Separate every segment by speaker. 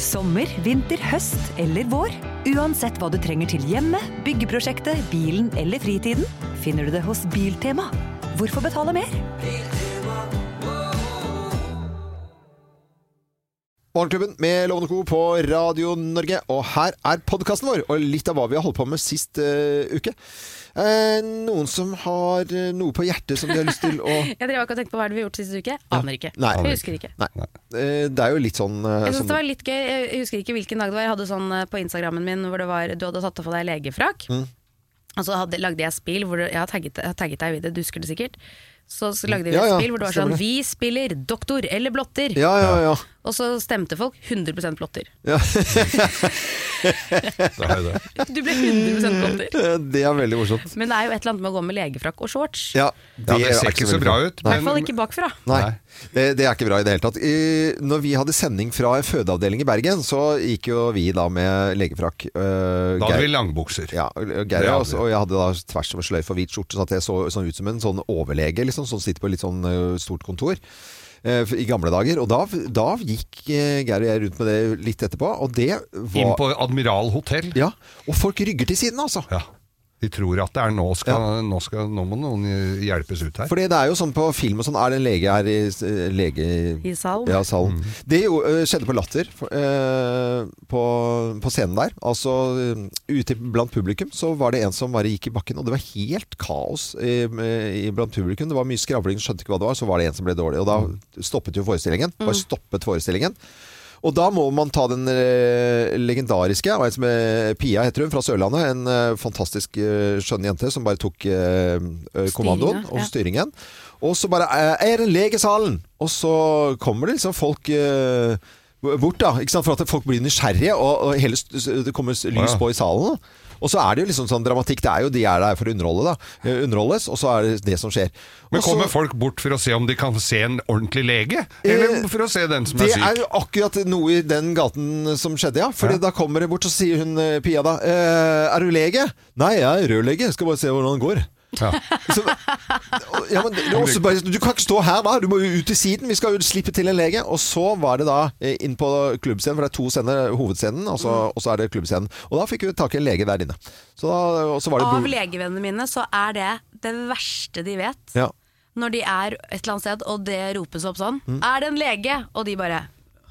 Speaker 1: Sommer, vinter, høst eller vår. Uansett hva du trenger til hjemmet, byggeprosjektet, bilen eller fritiden, finner du det hos Biltema. Hvorfor betale mer?
Speaker 2: Morgenklubben med Lovende Co. på Radio Norge. Og her er podkasten vår, og litt av hva vi har holdt på med sist eh, uke. Eh, noen som har eh, noe på hjertet som de har lyst til å
Speaker 3: Jeg drev akkurat og tenkte på hva er det vi har gjort siste uke. Aner ikke.
Speaker 2: Nei.
Speaker 3: Jeg husker ikke.
Speaker 2: Nei. Eh, det er jo litt sånn eh,
Speaker 3: Jeg synes
Speaker 2: som-
Speaker 3: det var litt gøy, jeg husker ikke hvilken dag det var. Jeg hadde sånn eh, på Instagrammen min hvor det var, du hadde tatt av deg legefrakk.
Speaker 2: Mm.
Speaker 3: Og så hadde, lagde jeg spill hvor du, jeg har tagget, jeg har tagget deg i det, du husker det sikkert. Så, så lagde vi
Speaker 2: Ja,
Speaker 3: et
Speaker 2: ja,
Speaker 3: spill hvor det var
Speaker 2: stemmer det.
Speaker 3: sånn Vi spiller doktor eller blotter.
Speaker 2: Ja, ja, ja.
Speaker 3: Og så stemte folk 100 blotter.
Speaker 4: Det er jo det.
Speaker 3: Du ble 100 blotter.
Speaker 2: Eh, Det er veldig morsomt.
Speaker 3: Men det er jo et eller annet med å gå med legefrakk og shorts.
Speaker 2: Ja,
Speaker 4: Ja, det
Speaker 2: er
Speaker 4: ser ikke så bra ut.
Speaker 3: I hvert fall ikke bakfra.
Speaker 2: Nei,
Speaker 4: Nei.
Speaker 2: det, det er ikke bra i det hele tatt. I, når vi hadde sending fra en fødeavdeling i Bergen, så gikk jo vi da med legefrakk. eh,
Speaker 4: Da hadde
Speaker 2: Geir-
Speaker 4: vi langbukser.
Speaker 2: Ja, og Geir
Speaker 4: Det
Speaker 2: og,
Speaker 4: hadde
Speaker 2: jeg også,
Speaker 4: vi.
Speaker 2: og jeg hadde da tvers over sløyfe og hvit skjorte, så at jeg så sånn ut som en sånn overlege, liksom, som sitter på litt sånn ø, stort kontor. eh, f- I gamle dager. Og da, da gikk eh, Geir og jeg rundt med det litt etterpå, og det
Speaker 4: Inn
Speaker 2: var
Speaker 4: på Admiral hotell.
Speaker 2: Ja. Og folk rygger til siden, altså.
Speaker 4: Ja. De tror at det er nå skal, nå skal Nå må noen hjelpes ut her.
Speaker 2: Fordi det er jo sånn på film og sånn, er det en lege her i s- eh, lege...
Speaker 3: I salen.
Speaker 2: Ja, salen. Det jo, ø, skjedde på Latter, for- ø, på, på scenen der. Altså ø, ute blant publikum så var det en som bare gikk i bakken, og det var helt kaos i, i, blant publikum. Det var mye skravling, skjønte ikke hva det var, så var det en som ble dårlig. Og da stoppet jo forestillingen. Bare stoppet forestillingen. Og da må man ta den eh, legendariske, og en som eh, Pia heter hun, fra Sørlandet. En eh, fantastisk eh, skjønn jente som bare tok eh, eh, kommandoen
Speaker 3: Styringa,
Speaker 2: og
Speaker 3: ja.
Speaker 2: styringen. Og så bare eh, 'Er det en lege i salen?' Og så kommer det liksom folk eh, bort, da. Ikke sant? For at folk blir nysgjerrige, og, og hele, st- det kommer s- lys
Speaker 4: Ja.
Speaker 2: på i salen. Og så er det jo liksom sånn dramatikk. Det er jo de er der for å underholde, da. Eh, Underholdes, og så er det det som skjer.
Speaker 4: Men
Speaker 2: Og så-
Speaker 4: kommer folk bort for å se om de kan se en ordentlig lege? Eller for å se den som
Speaker 2: Eh, Det
Speaker 4: er
Speaker 2: er
Speaker 4: syk?
Speaker 2: jo akkurat noe i den gaten som skjedde, ja. For
Speaker 4: Ja.
Speaker 2: da kommer det bort, så sier hun eh, Pia da eh, Er du lege? Nei, jeg er rørlege. Skal bare se hvordan det går.
Speaker 4: Ja.
Speaker 2: Så, ja, men det er også bare, du kan ikke stå her, da. Du må jo ut til siden. Vi skal jo slippe til en lege. Og så var det da eh, inn på klubbscenen, for det er to scener. eh, Hovedscenen, og
Speaker 3: Mm.
Speaker 2: så, og så er det klubbscenen. Og da fikk vi tak i en lege der inne. Så da, og så var det
Speaker 3: Av legevennene mine så er det det verste de vet.
Speaker 2: Ja.
Speaker 3: når de er et eller annet sted, og det ropes opp sånn
Speaker 2: Mm.
Speaker 3: Er det en lege? Og de bare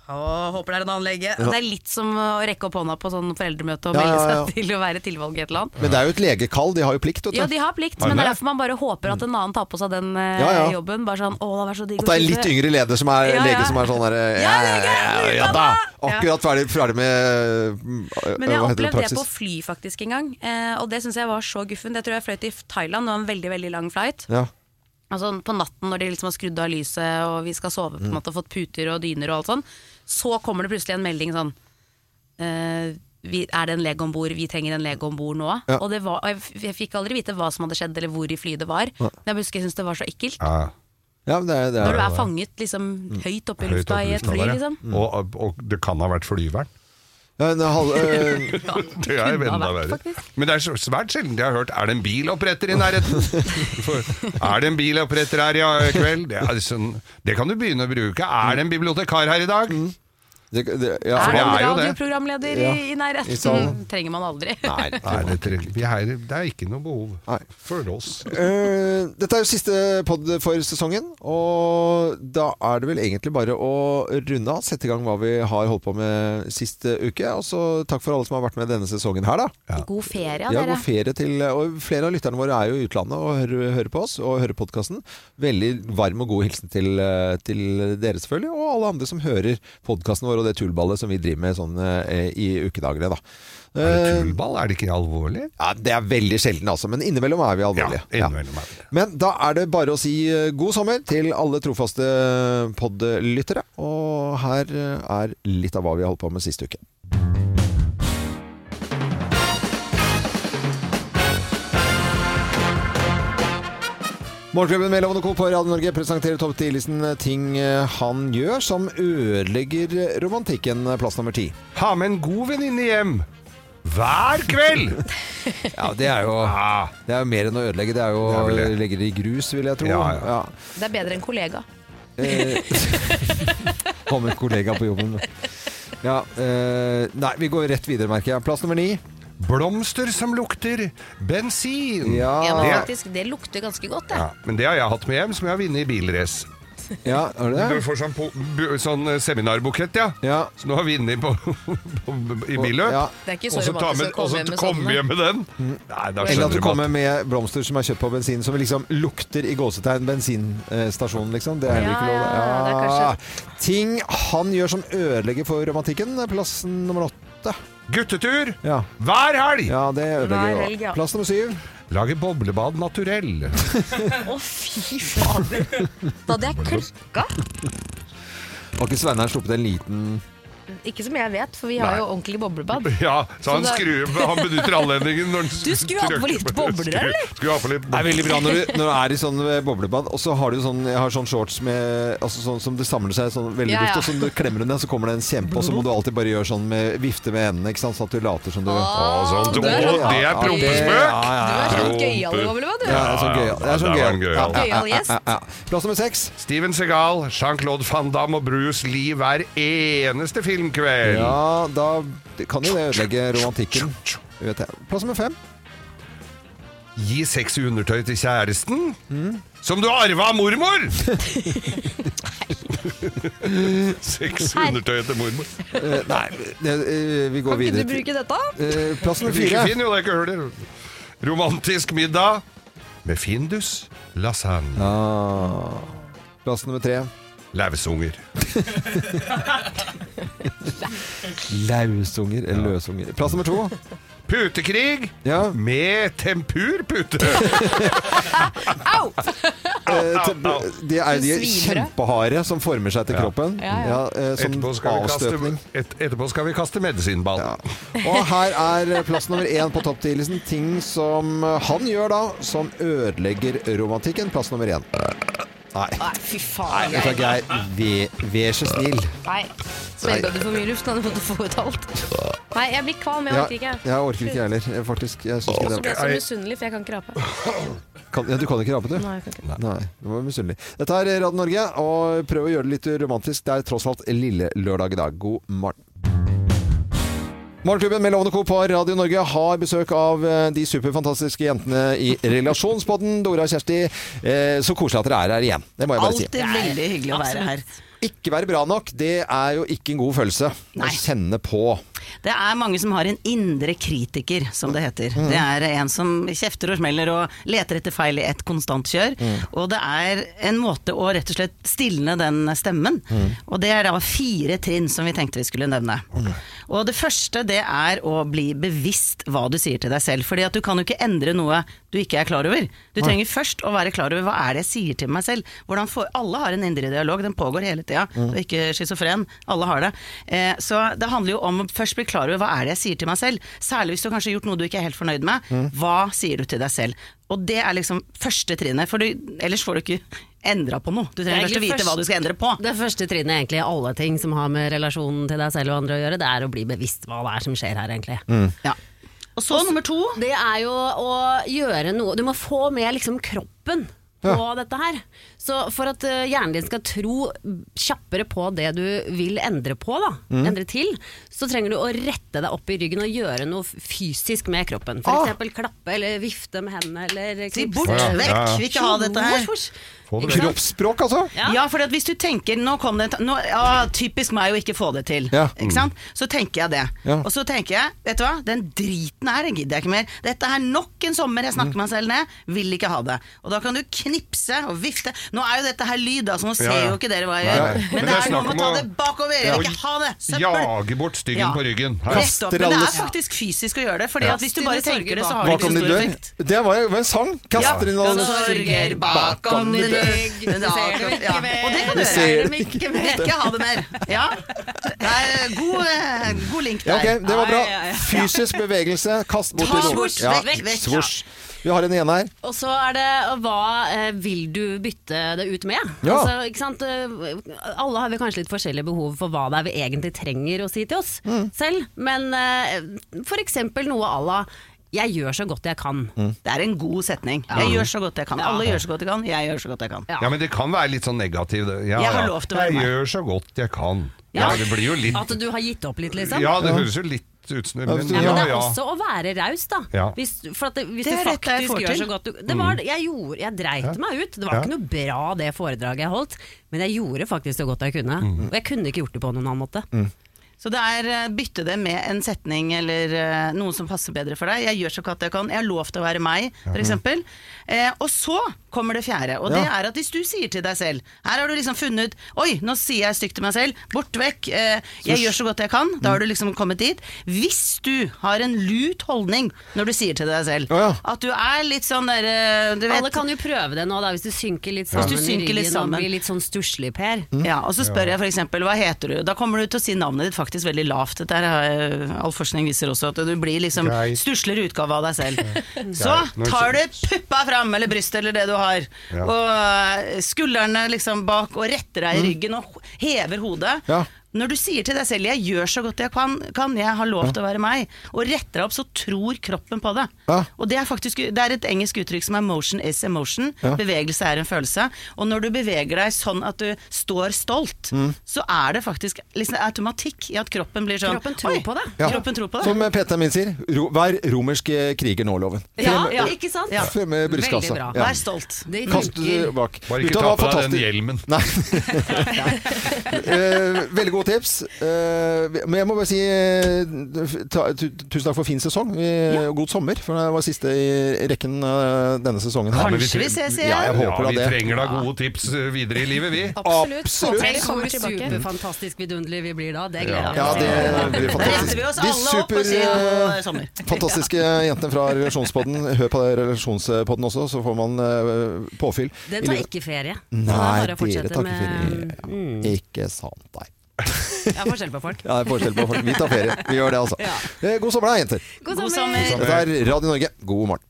Speaker 3: å, håper det er en annen lege. Det er litt som å rekke opp hånda på sånn foreldremøte og
Speaker 2: Ja,
Speaker 3: melde seg
Speaker 2: ja, ja.
Speaker 3: til å være tilvalg i et eller annet.
Speaker 2: Men det er jo et legekall. De har jo plikt.
Speaker 3: Ja,
Speaker 2: Vet du.
Speaker 3: de har plikt,
Speaker 4: Har de
Speaker 3: men det er
Speaker 4: det?
Speaker 3: derfor man bare håper at en annen tar på seg den eh,
Speaker 2: Ja, ja.
Speaker 3: jobben. Bare sånn, å, det er så digg
Speaker 2: At det er en litt yngre leder som er
Speaker 3: Ja, ja.
Speaker 2: lege som er sånn der eh,
Speaker 3: Ja, lege,
Speaker 2: ja da!
Speaker 3: ja.
Speaker 2: Akkurat ferdig, ferdig med mm,
Speaker 3: Men jeg
Speaker 2: hva heter
Speaker 3: opplevde det på fly faktisk en gang, eh, og det syns jeg var så guffen. Jeg tror jeg fløy til Thailand, det var en veldig, veldig lang flight.
Speaker 2: Ja.
Speaker 3: Altså på natten når de liksom har skrudd av lyset og vi skal sove på en måte og fått puter og dyner og alt sånn, så kommer det plutselig en melding sånn eh, vi, Er det en lege om bord? Vi trenger en lege om bord nå.
Speaker 2: Ja.
Speaker 3: Og, det var, og jeg, f- jeg fikk aldri vite hva som hadde skjedd eller hvor i flyet det var. Men jeg husker jeg syntes det var så ekkelt.
Speaker 4: Ja.
Speaker 2: ja, men det er, det
Speaker 3: Når
Speaker 2: er,
Speaker 3: du er fanget liksom høyt oppe i
Speaker 4: Høyt
Speaker 3: lufta
Speaker 4: oppe i
Speaker 3: i et
Speaker 4: lufta
Speaker 3: fly,
Speaker 4: der, ja.
Speaker 3: liksom.
Speaker 4: Og, og det kan ha vært flyveren.
Speaker 2: Ja, en halv, eh,
Speaker 4: Det er jo
Speaker 3: kunne ha
Speaker 4: enda
Speaker 3: vært,
Speaker 4: verre.
Speaker 3: faktisk.
Speaker 4: Men det er så- svært sjelden jeg har hørt Er det en biloppretter i nærheten? For, er det en biloppretter her i ja, kveld? Det, er sånn, det kan du begynne å bruke. Er det en bibliotekar her i dag?
Speaker 2: det, det, ja,
Speaker 3: Er det en
Speaker 4: det er jo det.
Speaker 3: radioprogramleder i,
Speaker 2: Ja.
Speaker 3: i
Speaker 2: I
Speaker 3: nærheten?
Speaker 2: salen.
Speaker 3: Trenger man aldri.
Speaker 2: Nei.
Speaker 4: Nei, det, trenger- vi er, det er ikke noe behov
Speaker 2: Nei.
Speaker 4: for oss.
Speaker 2: Eh, dette er jo siste pod for sesongen, og da er det vel egentlig bare å runde av. Sette i gang hva vi har holdt på med sist eh, uke. Og så takk for alle som har vært med denne sesongen her, da.
Speaker 3: God ferie,
Speaker 2: Ja,
Speaker 3: dere.
Speaker 2: god ferie til Og flere av lytterne våre er jo i utlandet og hører, hører på oss og hører podkasten. Veldig varm og god hilsen til, eh, til dere, selvfølgelig, og alle andre som hører podkasten vår og det tullballet som vi driver med sånn eh, i ukedagene, da.
Speaker 4: Er det
Speaker 2: Eh,
Speaker 4: tullball? Er det ikke alvorlig?
Speaker 2: ja, det er veldig sjelden, altså. Men innimellom er vi
Speaker 4: Ja,
Speaker 2: alvorlige.
Speaker 4: innimellom er det det.
Speaker 2: Men da er det bare å si eh, god sommer til alle trofaste podlyttere. Og her eh, er litt av hva vi har holdt på med sist uke. Morgenklubben med Lovende Co. på Radio Norge presenterer topp 10-listen ting eh, han gjør som ødelegger romantikken. eh, Plass nummer ti.
Speaker 4: Ha med en god venninne hjem hver kveld!
Speaker 2: Ja, det er jo
Speaker 4: Ja,
Speaker 2: Det er jo mer enn å ødelegge, det er jo
Speaker 4: Det er
Speaker 2: å
Speaker 4: vel det.
Speaker 2: legge det i grus, vil jeg tro.
Speaker 4: Ja, ja.
Speaker 3: Det er bedre enn kollega.
Speaker 2: Eh, Kom en kollega på jobben. Ja, eh, nei, vi går rett videre, merker jeg. Plass nummer ni.
Speaker 4: Blomster som lukter bensin.
Speaker 5: Ja, men
Speaker 2: Ja,
Speaker 5: faktisk, det lukter ganske godt, det.
Speaker 4: Ja, men det har jeg hatt med hjem, som jeg har vunnet i bilrace.
Speaker 2: ja er det
Speaker 4: Du
Speaker 2: det?
Speaker 4: får sånn, po- bu- sånn eh, seminarbukett, ja.
Speaker 2: Ja.
Speaker 4: Som du har vunnet på, på, i billøp.
Speaker 2: Ja. Mm.
Speaker 5: Det er ikke
Speaker 4: Og
Speaker 5: så
Speaker 4: så ta med-
Speaker 5: romantisk å
Speaker 4: og så
Speaker 5: komme hjem med
Speaker 4: komme
Speaker 5: sånne.
Speaker 4: hjem med den. Nei, da
Speaker 2: Eller at
Speaker 4: skjønner
Speaker 2: du
Speaker 4: du at
Speaker 2: kommer med blomster som er kjøpt på bensin, som liksom lukter i gåsetegn bensinstasjonen, liksom. Det er heller ikke lov.
Speaker 5: Ja, ja, det er kanskje-
Speaker 2: Ting han gjør som ødelegger for romantikken. Plass nummer åtte.
Speaker 4: Guttetur
Speaker 2: Ja,
Speaker 4: hver helg!
Speaker 2: ja det
Speaker 5: Hver
Speaker 2: ødelegger
Speaker 5: helg,
Speaker 2: jo.
Speaker 5: ja.
Speaker 2: Plass nummer syv.
Speaker 4: Lage boblebad naturell.
Speaker 5: Å, fy fader! Da hadde jeg klokka.
Speaker 2: Har ikke Sveinern sluppet en liten
Speaker 3: Ikke som jeg vet, for vi har
Speaker 4: Nei.
Speaker 3: jo ordentlig boblebad.
Speaker 4: Ja, så han,
Speaker 3: Så da-
Speaker 4: skrur, han benytter anledningen når han
Speaker 5: Du skrur av på
Speaker 4: trykker
Speaker 5: litt
Speaker 4: på-
Speaker 5: bobler,
Speaker 4: skrur-
Speaker 5: eller?
Speaker 4: Skrur av på litt
Speaker 2: Det er
Speaker 4: bobler.
Speaker 2: veldig bra når du, når du er i sånn eh, boblebad, og så har du sånn, jeg har sånn shorts med, altså sånn, som det samler seg sånn veldig
Speaker 5: Ja, ja.
Speaker 2: luft, og så du klemmer du den, så kommer det en kjempe, og så må du alltid bare gjøre sånn med, vifte med hendene, ikke sant, sånn at du later som du...
Speaker 4: Å, sånn.
Speaker 5: Du er
Speaker 4: Å,
Speaker 5: sånn-
Speaker 4: det er
Speaker 2: Ja, det-
Speaker 4: prompespøk!
Speaker 2: ja,
Speaker 3: Du
Speaker 2: ja,
Speaker 3: er sånn
Speaker 4: Ja.
Speaker 3: gøyal i boblebad,
Speaker 2: Ja,
Speaker 3: du.
Speaker 2: det er sånn
Speaker 4: Ja,
Speaker 2: gøy.
Speaker 4: ja,
Speaker 2: Det er sånn
Speaker 4: det
Speaker 2: gøy.
Speaker 4: var en
Speaker 2: Ja,
Speaker 4: gøyal.
Speaker 2: ja,
Speaker 3: Gøyal
Speaker 2: ja,
Speaker 3: gjest.
Speaker 2: ja, ja. Plass nummer seks.
Speaker 4: Steven Segal, Jean-Claude Van Damme og Bruce Lee hver eneste filmkveld.
Speaker 2: Ja, da kan jo det ødelegge romantikken. Vet jeg. Plass nummer fem.
Speaker 4: Gi sexy undertøy til kjæresten, som du har arva av mormor! sexy undertøy til mormor.
Speaker 2: Eh, nei, det, eh, vi går
Speaker 3: Kan ikke
Speaker 2: videre.
Speaker 3: du
Speaker 2: til-
Speaker 3: bruke dette?
Speaker 2: Eh, plass nummer
Speaker 4: Like
Speaker 2: fire.
Speaker 4: fin, jo, det er ikke høler. Romantisk middag med findus, lasagne,
Speaker 2: Ah, plass nummer tre.
Speaker 4: lausunger.
Speaker 2: Lausunger eller løsunger. Plass nummer to.
Speaker 4: Putekrig
Speaker 2: Ja.
Speaker 4: med tempurpute!
Speaker 3: Au!
Speaker 2: Eh, til- Det er jo de
Speaker 3: Svimere.
Speaker 2: kjempeharde som former seg til kroppen.
Speaker 3: Ja, ja.
Speaker 2: eh, som
Speaker 4: Etterpå skal, vi kaste,
Speaker 2: avstøpning.
Speaker 4: et, etterpå skal vi kaste medisinball.
Speaker 2: Ja. Og her er plass nummer én på topp ti-listen. Ting som han gjør da, som ødelegger romantikken. Plass nummer én. Nei.
Speaker 3: Nei, fy faen.
Speaker 2: Vet du hva, Geir, Ve- vær så snill.
Speaker 3: Nei. Svelga du for mye luft? Hadde fått få ut alt. Nei, jeg blir kvalm. Jeg
Speaker 2: Ja,
Speaker 3: orker ikke.
Speaker 2: jeg orker ikke, jeg heller. Jeg Faktisk, jeg synes
Speaker 3: Så
Speaker 2: ikke
Speaker 3: ble
Speaker 2: det.
Speaker 3: jeg så misunnelig, for jeg kan ikke rape.
Speaker 2: Kan, ja, du kan ikke rape, du?
Speaker 3: Nei, jeg kan ikke.
Speaker 2: Nei, det var misunnelig. Dette er Radio Norge, og prøv å gjøre det litt romantisk. Det er tross alt lille lørdag i dag. God morgen. Morgenklubben med Lovende Co. på Radio Norge har besøk av eh, de superfantastiske jentene i relasjonspodden. Dora og Kjersti, eh, så koselig at dere er her igjen. Det må jeg bare si.
Speaker 6: Alltid veldig hyggelig å være her.
Speaker 2: Ikke være bra nok, det er jo ikke en god følelse
Speaker 6: Nei.
Speaker 2: å kjenne på.
Speaker 6: Det er mange som har en indre kritiker, som det heter. Det er en som kjefter og smeller og leter etter feil i et konstant kjør. Og det er en måte å rett og slett stilne den stemmen. Og det er da fire trinn som vi tenkte vi skulle nevne. Og det første det er å bli bevisst hva du sier til deg selv. Fordi at du kan jo ikke endre noe du ikke er klar over. Du trenger først å være klar over hva er det jeg sier til meg selv. Hvordan får, alle har en indre dialog, den pågår hele tida. Du er ikke schizofren, alle har det. Eh, så det handler jo om å først bli klar over hva er det jeg sier til meg selv. Særlig hvis du kanskje har gjort noe du ikke er helt fornøyd med.
Speaker 4: Mm.
Speaker 6: Hva sier du til deg selv? Og det er liksom første trinnet, for du, ellers får du ikke endra på noe. Du
Speaker 7: Det
Speaker 6: trenger
Speaker 7: er
Speaker 6: først å
Speaker 7: egentlig
Speaker 6: vite hva
Speaker 7: først-
Speaker 6: du skal endre på.
Speaker 7: Det første trinnet egentlig i alle ting som har med relasjonen til deg selv og andre å gjøre, det er å bli bevisst hva det er som skjer her, egentlig.
Speaker 6: Ja. Mm. Og så nummer to.
Speaker 7: Det er jo å gjøre noe Du må få med liksom kroppen på dette her. Så for at eh, hjernen din skal tro kjappere på det du vil endre på, da, endre til, så trenger du å rette deg opp i ryggen og gjøre noe fysisk med kroppen. For
Speaker 2: Ah.
Speaker 7: eksempel klappe eller vifte med hendene eller
Speaker 6: Si
Speaker 7: knipse.
Speaker 6: bort,
Speaker 4: Ja, ja.
Speaker 6: vekk, vil ikke ha dette her.
Speaker 7: Hors, hors.
Speaker 4: Få det vekk.
Speaker 2: Kroppsspråk, altså.
Speaker 6: Ja, for at hvis du tenker nå kom det, en ta- nå, ja, Typisk meg å ikke få det til.
Speaker 2: Ja.
Speaker 6: Ikke sant? Så tenker jeg det.
Speaker 2: Ja.
Speaker 6: Og så tenker jeg, vet du hva, den driten her jeg gidder jeg ikke mer. Dette er nok en sommer jeg
Speaker 4: Mm.
Speaker 6: snakker meg selv ned. Vil ikke ha det. Og da kan du knipse og vifte. Nå er jo dette her lyd, altså. Nå ser
Speaker 4: ja.
Speaker 6: jo ikke dere hva jeg
Speaker 4: Nei, nei.
Speaker 6: gjør. Men,
Speaker 4: Men
Speaker 6: det
Speaker 4: det er
Speaker 6: er noe
Speaker 4: snakk
Speaker 6: med
Speaker 4: om
Speaker 6: å ta
Speaker 4: å-
Speaker 6: det bakover. Jeg
Speaker 4: Ja.
Speaker 6: vil ikke ha det. Søppel.
Speaker 4: Jage bort styggen
Speaker 6: Ja.
Speaker 4: på ryggen. Her.
Speaker 6: Rett opp. Men det
Speaker 2: alle-
Speaker 6: er faktisk fysisk å gjøre det. Fordi at hvis du bare
Speaker 3: Dine sorger
Speaker 6: tenker det,
Speaker 3: bak.
Speaker 6: så har
Speaker 2: Hva
Speaker 6: det ikke
Speaker 2: kan
Speaker 6: så
Speaker 2: de
Speaker 6: stor
Speaker 2: dø?
Speaker 6: effekt.
Speaker 2: Det var jo var en sang. Kaster inn alle
Speaker 6: sorger bakom din rygg. Da kan- ja. Og det kan du
Speaker 2: ser
Speaker 6: gjøre. Ikke ha det mer. Ja. Det er god, eh, god link der.
Speaker 2: Ja, ok, det var bra.
Speaker 6: Ja, ja, ja.
Speaker 2: Fysisk bevegelse, kast bort
Speaker 6: Ta
Speaker 2: i noe.
Speaker 6: bort,
Speaker 2: Ja,
Speaker 6: vekk, vekk, ja.
Speaker 2: svosj. Vi har en ene her.
Speaker 7: Og så er det hva eh, vil du bytte det ut med?
Speaker 2: Ja.
Speaker 7: Altså, ikke sant? eh, Alle har vi kanskje litt forskjellige behov for hva det er vi egentlig trenger å si til oss selv. Men eh, for eksempel noe à la 'jeg gjør så godt jeg kan'.
Speaker 6: Det er en god setning. Jeg gjør så godt jeg kan. Alle gjør så godt jeg kan, jeg gjør så godt jeg kan.
Speaker 4: Ja, men det kan være litt sånn negativ. det. Ja,
Speaker 6: Jeg har
Speaker 4: ja.
Speaker 6: lov til å være
Speaker 4: Jeg
Speaker 6: meg.
Speaker 4: gjør så godt jeg kan. Ja, det blir jo litt
Speaker 7: At du har gitt opp litt, liksom?
Speaker 4: Ja, det høres jo litt ut som
Speaker 2: Ja,
Speaker 4: men-
Speaker 2: men
Speaker 7: Ja, men det
Speaker 4: Ja,
Speaker 7: er
Speaker 4: ja.
Speaker 7: også å være raus, da.
Speaker 4: Ja. Mm.
Speaker 7: Hvis, for at det, hvis
Speaker 6: Det er
Speaker 7: du
Speaker 6: dette jeg
Speaker 7: faktisk
Speaker 6: får
Speaker 7: gjør
Speaker 6: til.
Speaker 7: så godt du det var, jeg, gjorde, jeg dreit meg ut. Det var
Speaker 4: Ja.
Speaker 7: ikke noe bra det foredraget jeg holdt, men jeg gjorde faktisk så godt jeg kunne.
Speaker 4: Mm.
Speaker 7: Og jeg kunne ikke gjort det på noen annen måte.
Speaker 6: Så det er eh, bytte det med en setning eller eh, noe som passer bedre for deg. Jeg gjør så godt jeg kan. Jeg har lov til å være meg, f.eks. Eh, og så kommer det fjerde. Og det
Speaker 2: Ja.
Speaker 6: er at hvis du sier til deg selv Her har du liksom funnet ut Oi, nå sier jeg stygt til meg selv. Bort vekk. Eh, jeg gjør så godt jeg kan. Da har
Speaker 2: Mm.
Speaker 6: du liksom kommet dit. Hvis du har en lut holdning når du sier til deg selv
Speaker 2: Ja, ja.
Speaker 6: at du er litt sånn derre Du vet
Speaker 7: Alle kan jo prøve det nå, da, hvis du synker litt
Speaker 6: Hvis
Speaker 7: sammen
Speaker 6: du synker
Speaker 7: i
Speaker 6: litt
Speaker 7: ryggen
Speaker 6: sammen.
Speaker 7: og blir litt sånn stusslig, Per.
Speaker 2: Mm.
Speaker 4: Mm.
Speaker 6: Ja, og så spør jeg f.eks. hva heter du? Da kommer du til å si navnet ditt faktisk veldig lavt. Dette er, eh, all forskning viser også at du blir liksom
Speaker 4: Geir.
Speaker 6: stusler utgave av deg selv. Så
Speaker 4: Geir. Nå
Speaker 6: tar du
Speaker 4: skjønner
Speaker 6: puppa fram, eller brystet, eller det du har,
Speaker 4: Ja.
Speaker 6: og eh, skuldrene liksom bak, og retter
Speaker 4: Mm.
Speaker 6: deg i ryggen og ho- hever hodet.
Speaker 2: Ja.
Speaker 6: Når du sier til deg selv 'jeg gjør så godt jeg kan, kan jeg har lov til å være meg', og retter deg opp, så tror kroppen på det.
Speaker 2: Ja.
Speaker 6: Og det er faktisk det er et engelsk uttrykk som er 'motion is emotion'.
Speaker 2: Ja.
Speaker 6: Bevegelse er en følelse. Og når du beveger deg sånn at du står stolt,
Speaker 2: Mm.
Speaker 6: så er det faktisk liksom automatikk i at kroppen blir sånn
Speaker 7: Kroppen tror
Speaker 6: «Oi,
Speaker 7: på det».
Speaker 2: Ja.
Speaker 6: Kroppen tror på det.
Speaker 2: Som PT-en min sier, ro, vær romersk eh, kriger nå-loven.
Speaker 7: Ja,
Speaker 2: Frem-
Speaker 7: ja, ikke sant?
Speaker 6: Ja.
Speaker 2: Frem med brystkassa.
Speaker 7: Veldig bra.
Speaker 2: Ja.
Speaker 6: Vær stolt.
Speaker 7: Det
Speaker 2: Kast
Speaker 7: funker.
Speaker 2: det bak.
Speaker 4: Bare ikke
Speaker 2: Gutta,
Speaker 4: ta
Speaker 2: det var
Speaker 4: på deg den
Speaker 2: fantastisk.
Speaker 4: hjelmen.
Speaker 2: Nei. Eh, veldig gode tips. Eh, men jeg må bare si eh, ta, tu, tusen takk for fin sesong. Eh, og God sommer, for det var siste i rekken eh, denne sesongen. her.
Speaker 4: Ja, men
Speaker 6: Kanskje vi ses igjen?
Speaker 2: Ja, jeg håper
Speaker 4: Ja,
Speaker 2: da
Speaker 4: vi
Speaker 2: det.
Speaker 4: trenger da gode tips eh, videre i livet, vi.
Speaker 3: Absolutt.
Speaker 2: Absolutt.
Speaker 3: Håper dere
Speaker 7: Tenk hvor
Speaker 3: kommer tilbake.
Speaker 7: superfantastisk vidunderlige vi blir da. Det gleder
Speaker 4: Ja.
Speaker 7: jeg
Speaker 2: Ja,
Speaker 7: meg til.
Speaker 2: det blir
Speaker 6: Da retter
Speaker 2: fantastisk.
Speaker 6: vi oss
Speaker 2: De
Speaker 6: alle opp
Speaker 2: super,
Speaker 6: og sier
Speaker 2: eh,
Speaker 7: eh,
Speaker 6: god sommer.
Speaker 2: Fantastiske jentene fra Relasjonspodden. Hør på det, Relasjonspodden også, så får man eh, påfyll.
Speaker 7: Den tar ikke ferie. Så det er
Speaker 2: Nei,
Speaker 7: bare å
Speaker 2: dere
Speaker 7: fortsette
Speaker 2: tar ikke
Speaker 7: med- Mm.
Speaker 2: ferie. Ja, Ikke sant, nei.
Speaker 7: Ja, forskjell på folk.
Speaker 2: Ja, det er forskjell på folk. Vi tar ferie. Vi gjør det, altså. Eh, God sommer, da, jenter.
Speaker 6: God sommer.
Speaker 2: Dette er Radio Norge. God morgen.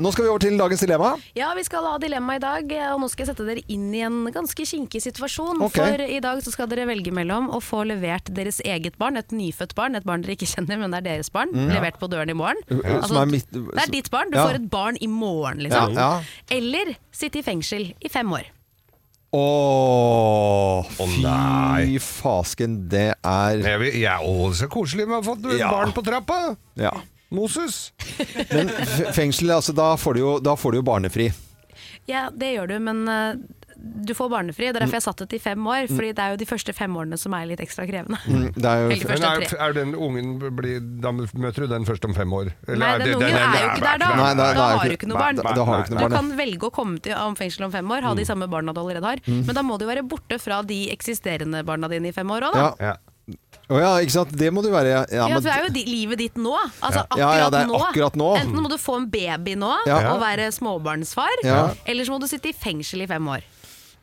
Speaker 2: Nå skal vi over til dagens dilemma.
Speaker 3: Ja, vi skal ha dilemma i dag, eh, og nå skal jeg sette dere inn i en ganske kinkig situasjon.
Speaker 2: Ok.
Speaker 3: For i dag så skal dere velge mellom å få levert deres eget barn, et nyfødt barn, et barn dere ikke kjenner, men det er deres barn, levert på døren i morgen. Altså,
Speaker 2: Ja. Mm. Som er mitt-
Speaker 3: det er ditt barn, du
Speaker 2: Ja.
Speaker 3: får et barn i morgen, liksom.
Speaker 2: Ja, ja.
Speaker 3: Eller sitte i fengsel i fem år.
Speaker 2: Åh,
Speaker 4: nei.
Speaker 2: fy fasken, det er
Speaker 4: Jeg, vil, jeg, å, så koselig med å ha fått
Speaker 2: Ja.
Speaker 4: barn på trappa!
Speaker 2: Ja.
Speaker 4: Moses.
Speaker 2: Men f- fengsel, altså, da får du jo, da får du jo barnefri.
Speaker 3: Ja, det gjør du, men eh, du får barnefri. Det er
Speaker 2: Mm.
Speaker 3: derfor jeg satte det til fem år, fordi det er jo de første fem årene som er litt ekstra krevende.
Speaker 2: Mm, Det er jo
Speaker 3: Veldig
Speaker 4: Men
Speaker 3: Først er
Speaker 4: er,
Speaker 3: tre.
Speaker 4: er den ungen blir, Da møter du den først om fem år? Eller
Speaker 3: Nei, den
Speaker 4: det-
Speaker 3: ungen er jo ikke der da.
Speaker 2: Nei, nei,
Speaker 3: da
Speaker 2: nei,
Speaker 3: har
Speaker 2: nei,
Speaker 3: du ikke noe
Speaker 4: nei,
Speaker 3: barn.
Speaker 4: nei,
Speaker 2: da har du ikke noe barn,
Speaker 3: Du
Speaker 2: nei.
Speaker 3: kan velge å komme til om fengsel om fem år,
Speaker 2: Mm.
Speaker 3: ha de samme barna du allerede har. Men da må du jo være borte fra de eksisterende barna dine i fem år òg, da.
Speaker 2: ja.
Speaker 4: Ja.
Speaker 2: Å ja, ikke sant. Det må du være. Ja,
Speaker 3: Ja,
Speaker 2: men-
Speaker 3: for det er jo di- livet ditt nå. Altså akkurat,
Speaker 2: Ja, ja, det er
Speaker 3: nå.
Speaker 2: akkurat nå.
Speaker 3: Enten må du få en baby nå
Speaker 2: Ja.
Speaker 3: og være småbarnsfar,
Speaker 2: Ja.
Speaker 3: eller så må du sitte i fengsel i fem år.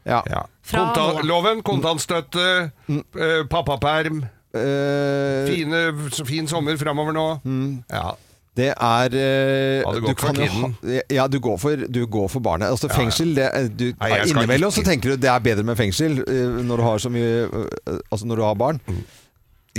Speaker 2: ja.
Speaker 4: Ja.
Speaker 3: Fra
Speaker 4: Kontan-
Speaker 3: nå.
Speaker 4: loven, kontantstøtte,
Speaker 2: Mm.
Speaker 4: eh, pappaperm.
Speaker 2: Eh,
Speaker 4: Fine, så fin sommer framover nå.
Speaker 2: Mm.
Speaker 4: Ja.
Speaker 2: det er eh,
Speaker 4: Ja, du går for
Speaker 2: kan jo
Speaker 4: tiden.
Speaker 2: ha- Ja, du går for, du går for barnet. Altså fengsel det, er- du,
Speaker 4: Nei, jeg skal
Speaker 2: Innimellom
Speaker 4: ikke-
Speaker 2: så tenker du det er bedre med fengsel eh, når du har så mye eh, Altså når du har barn.
Speaker 4: Mm,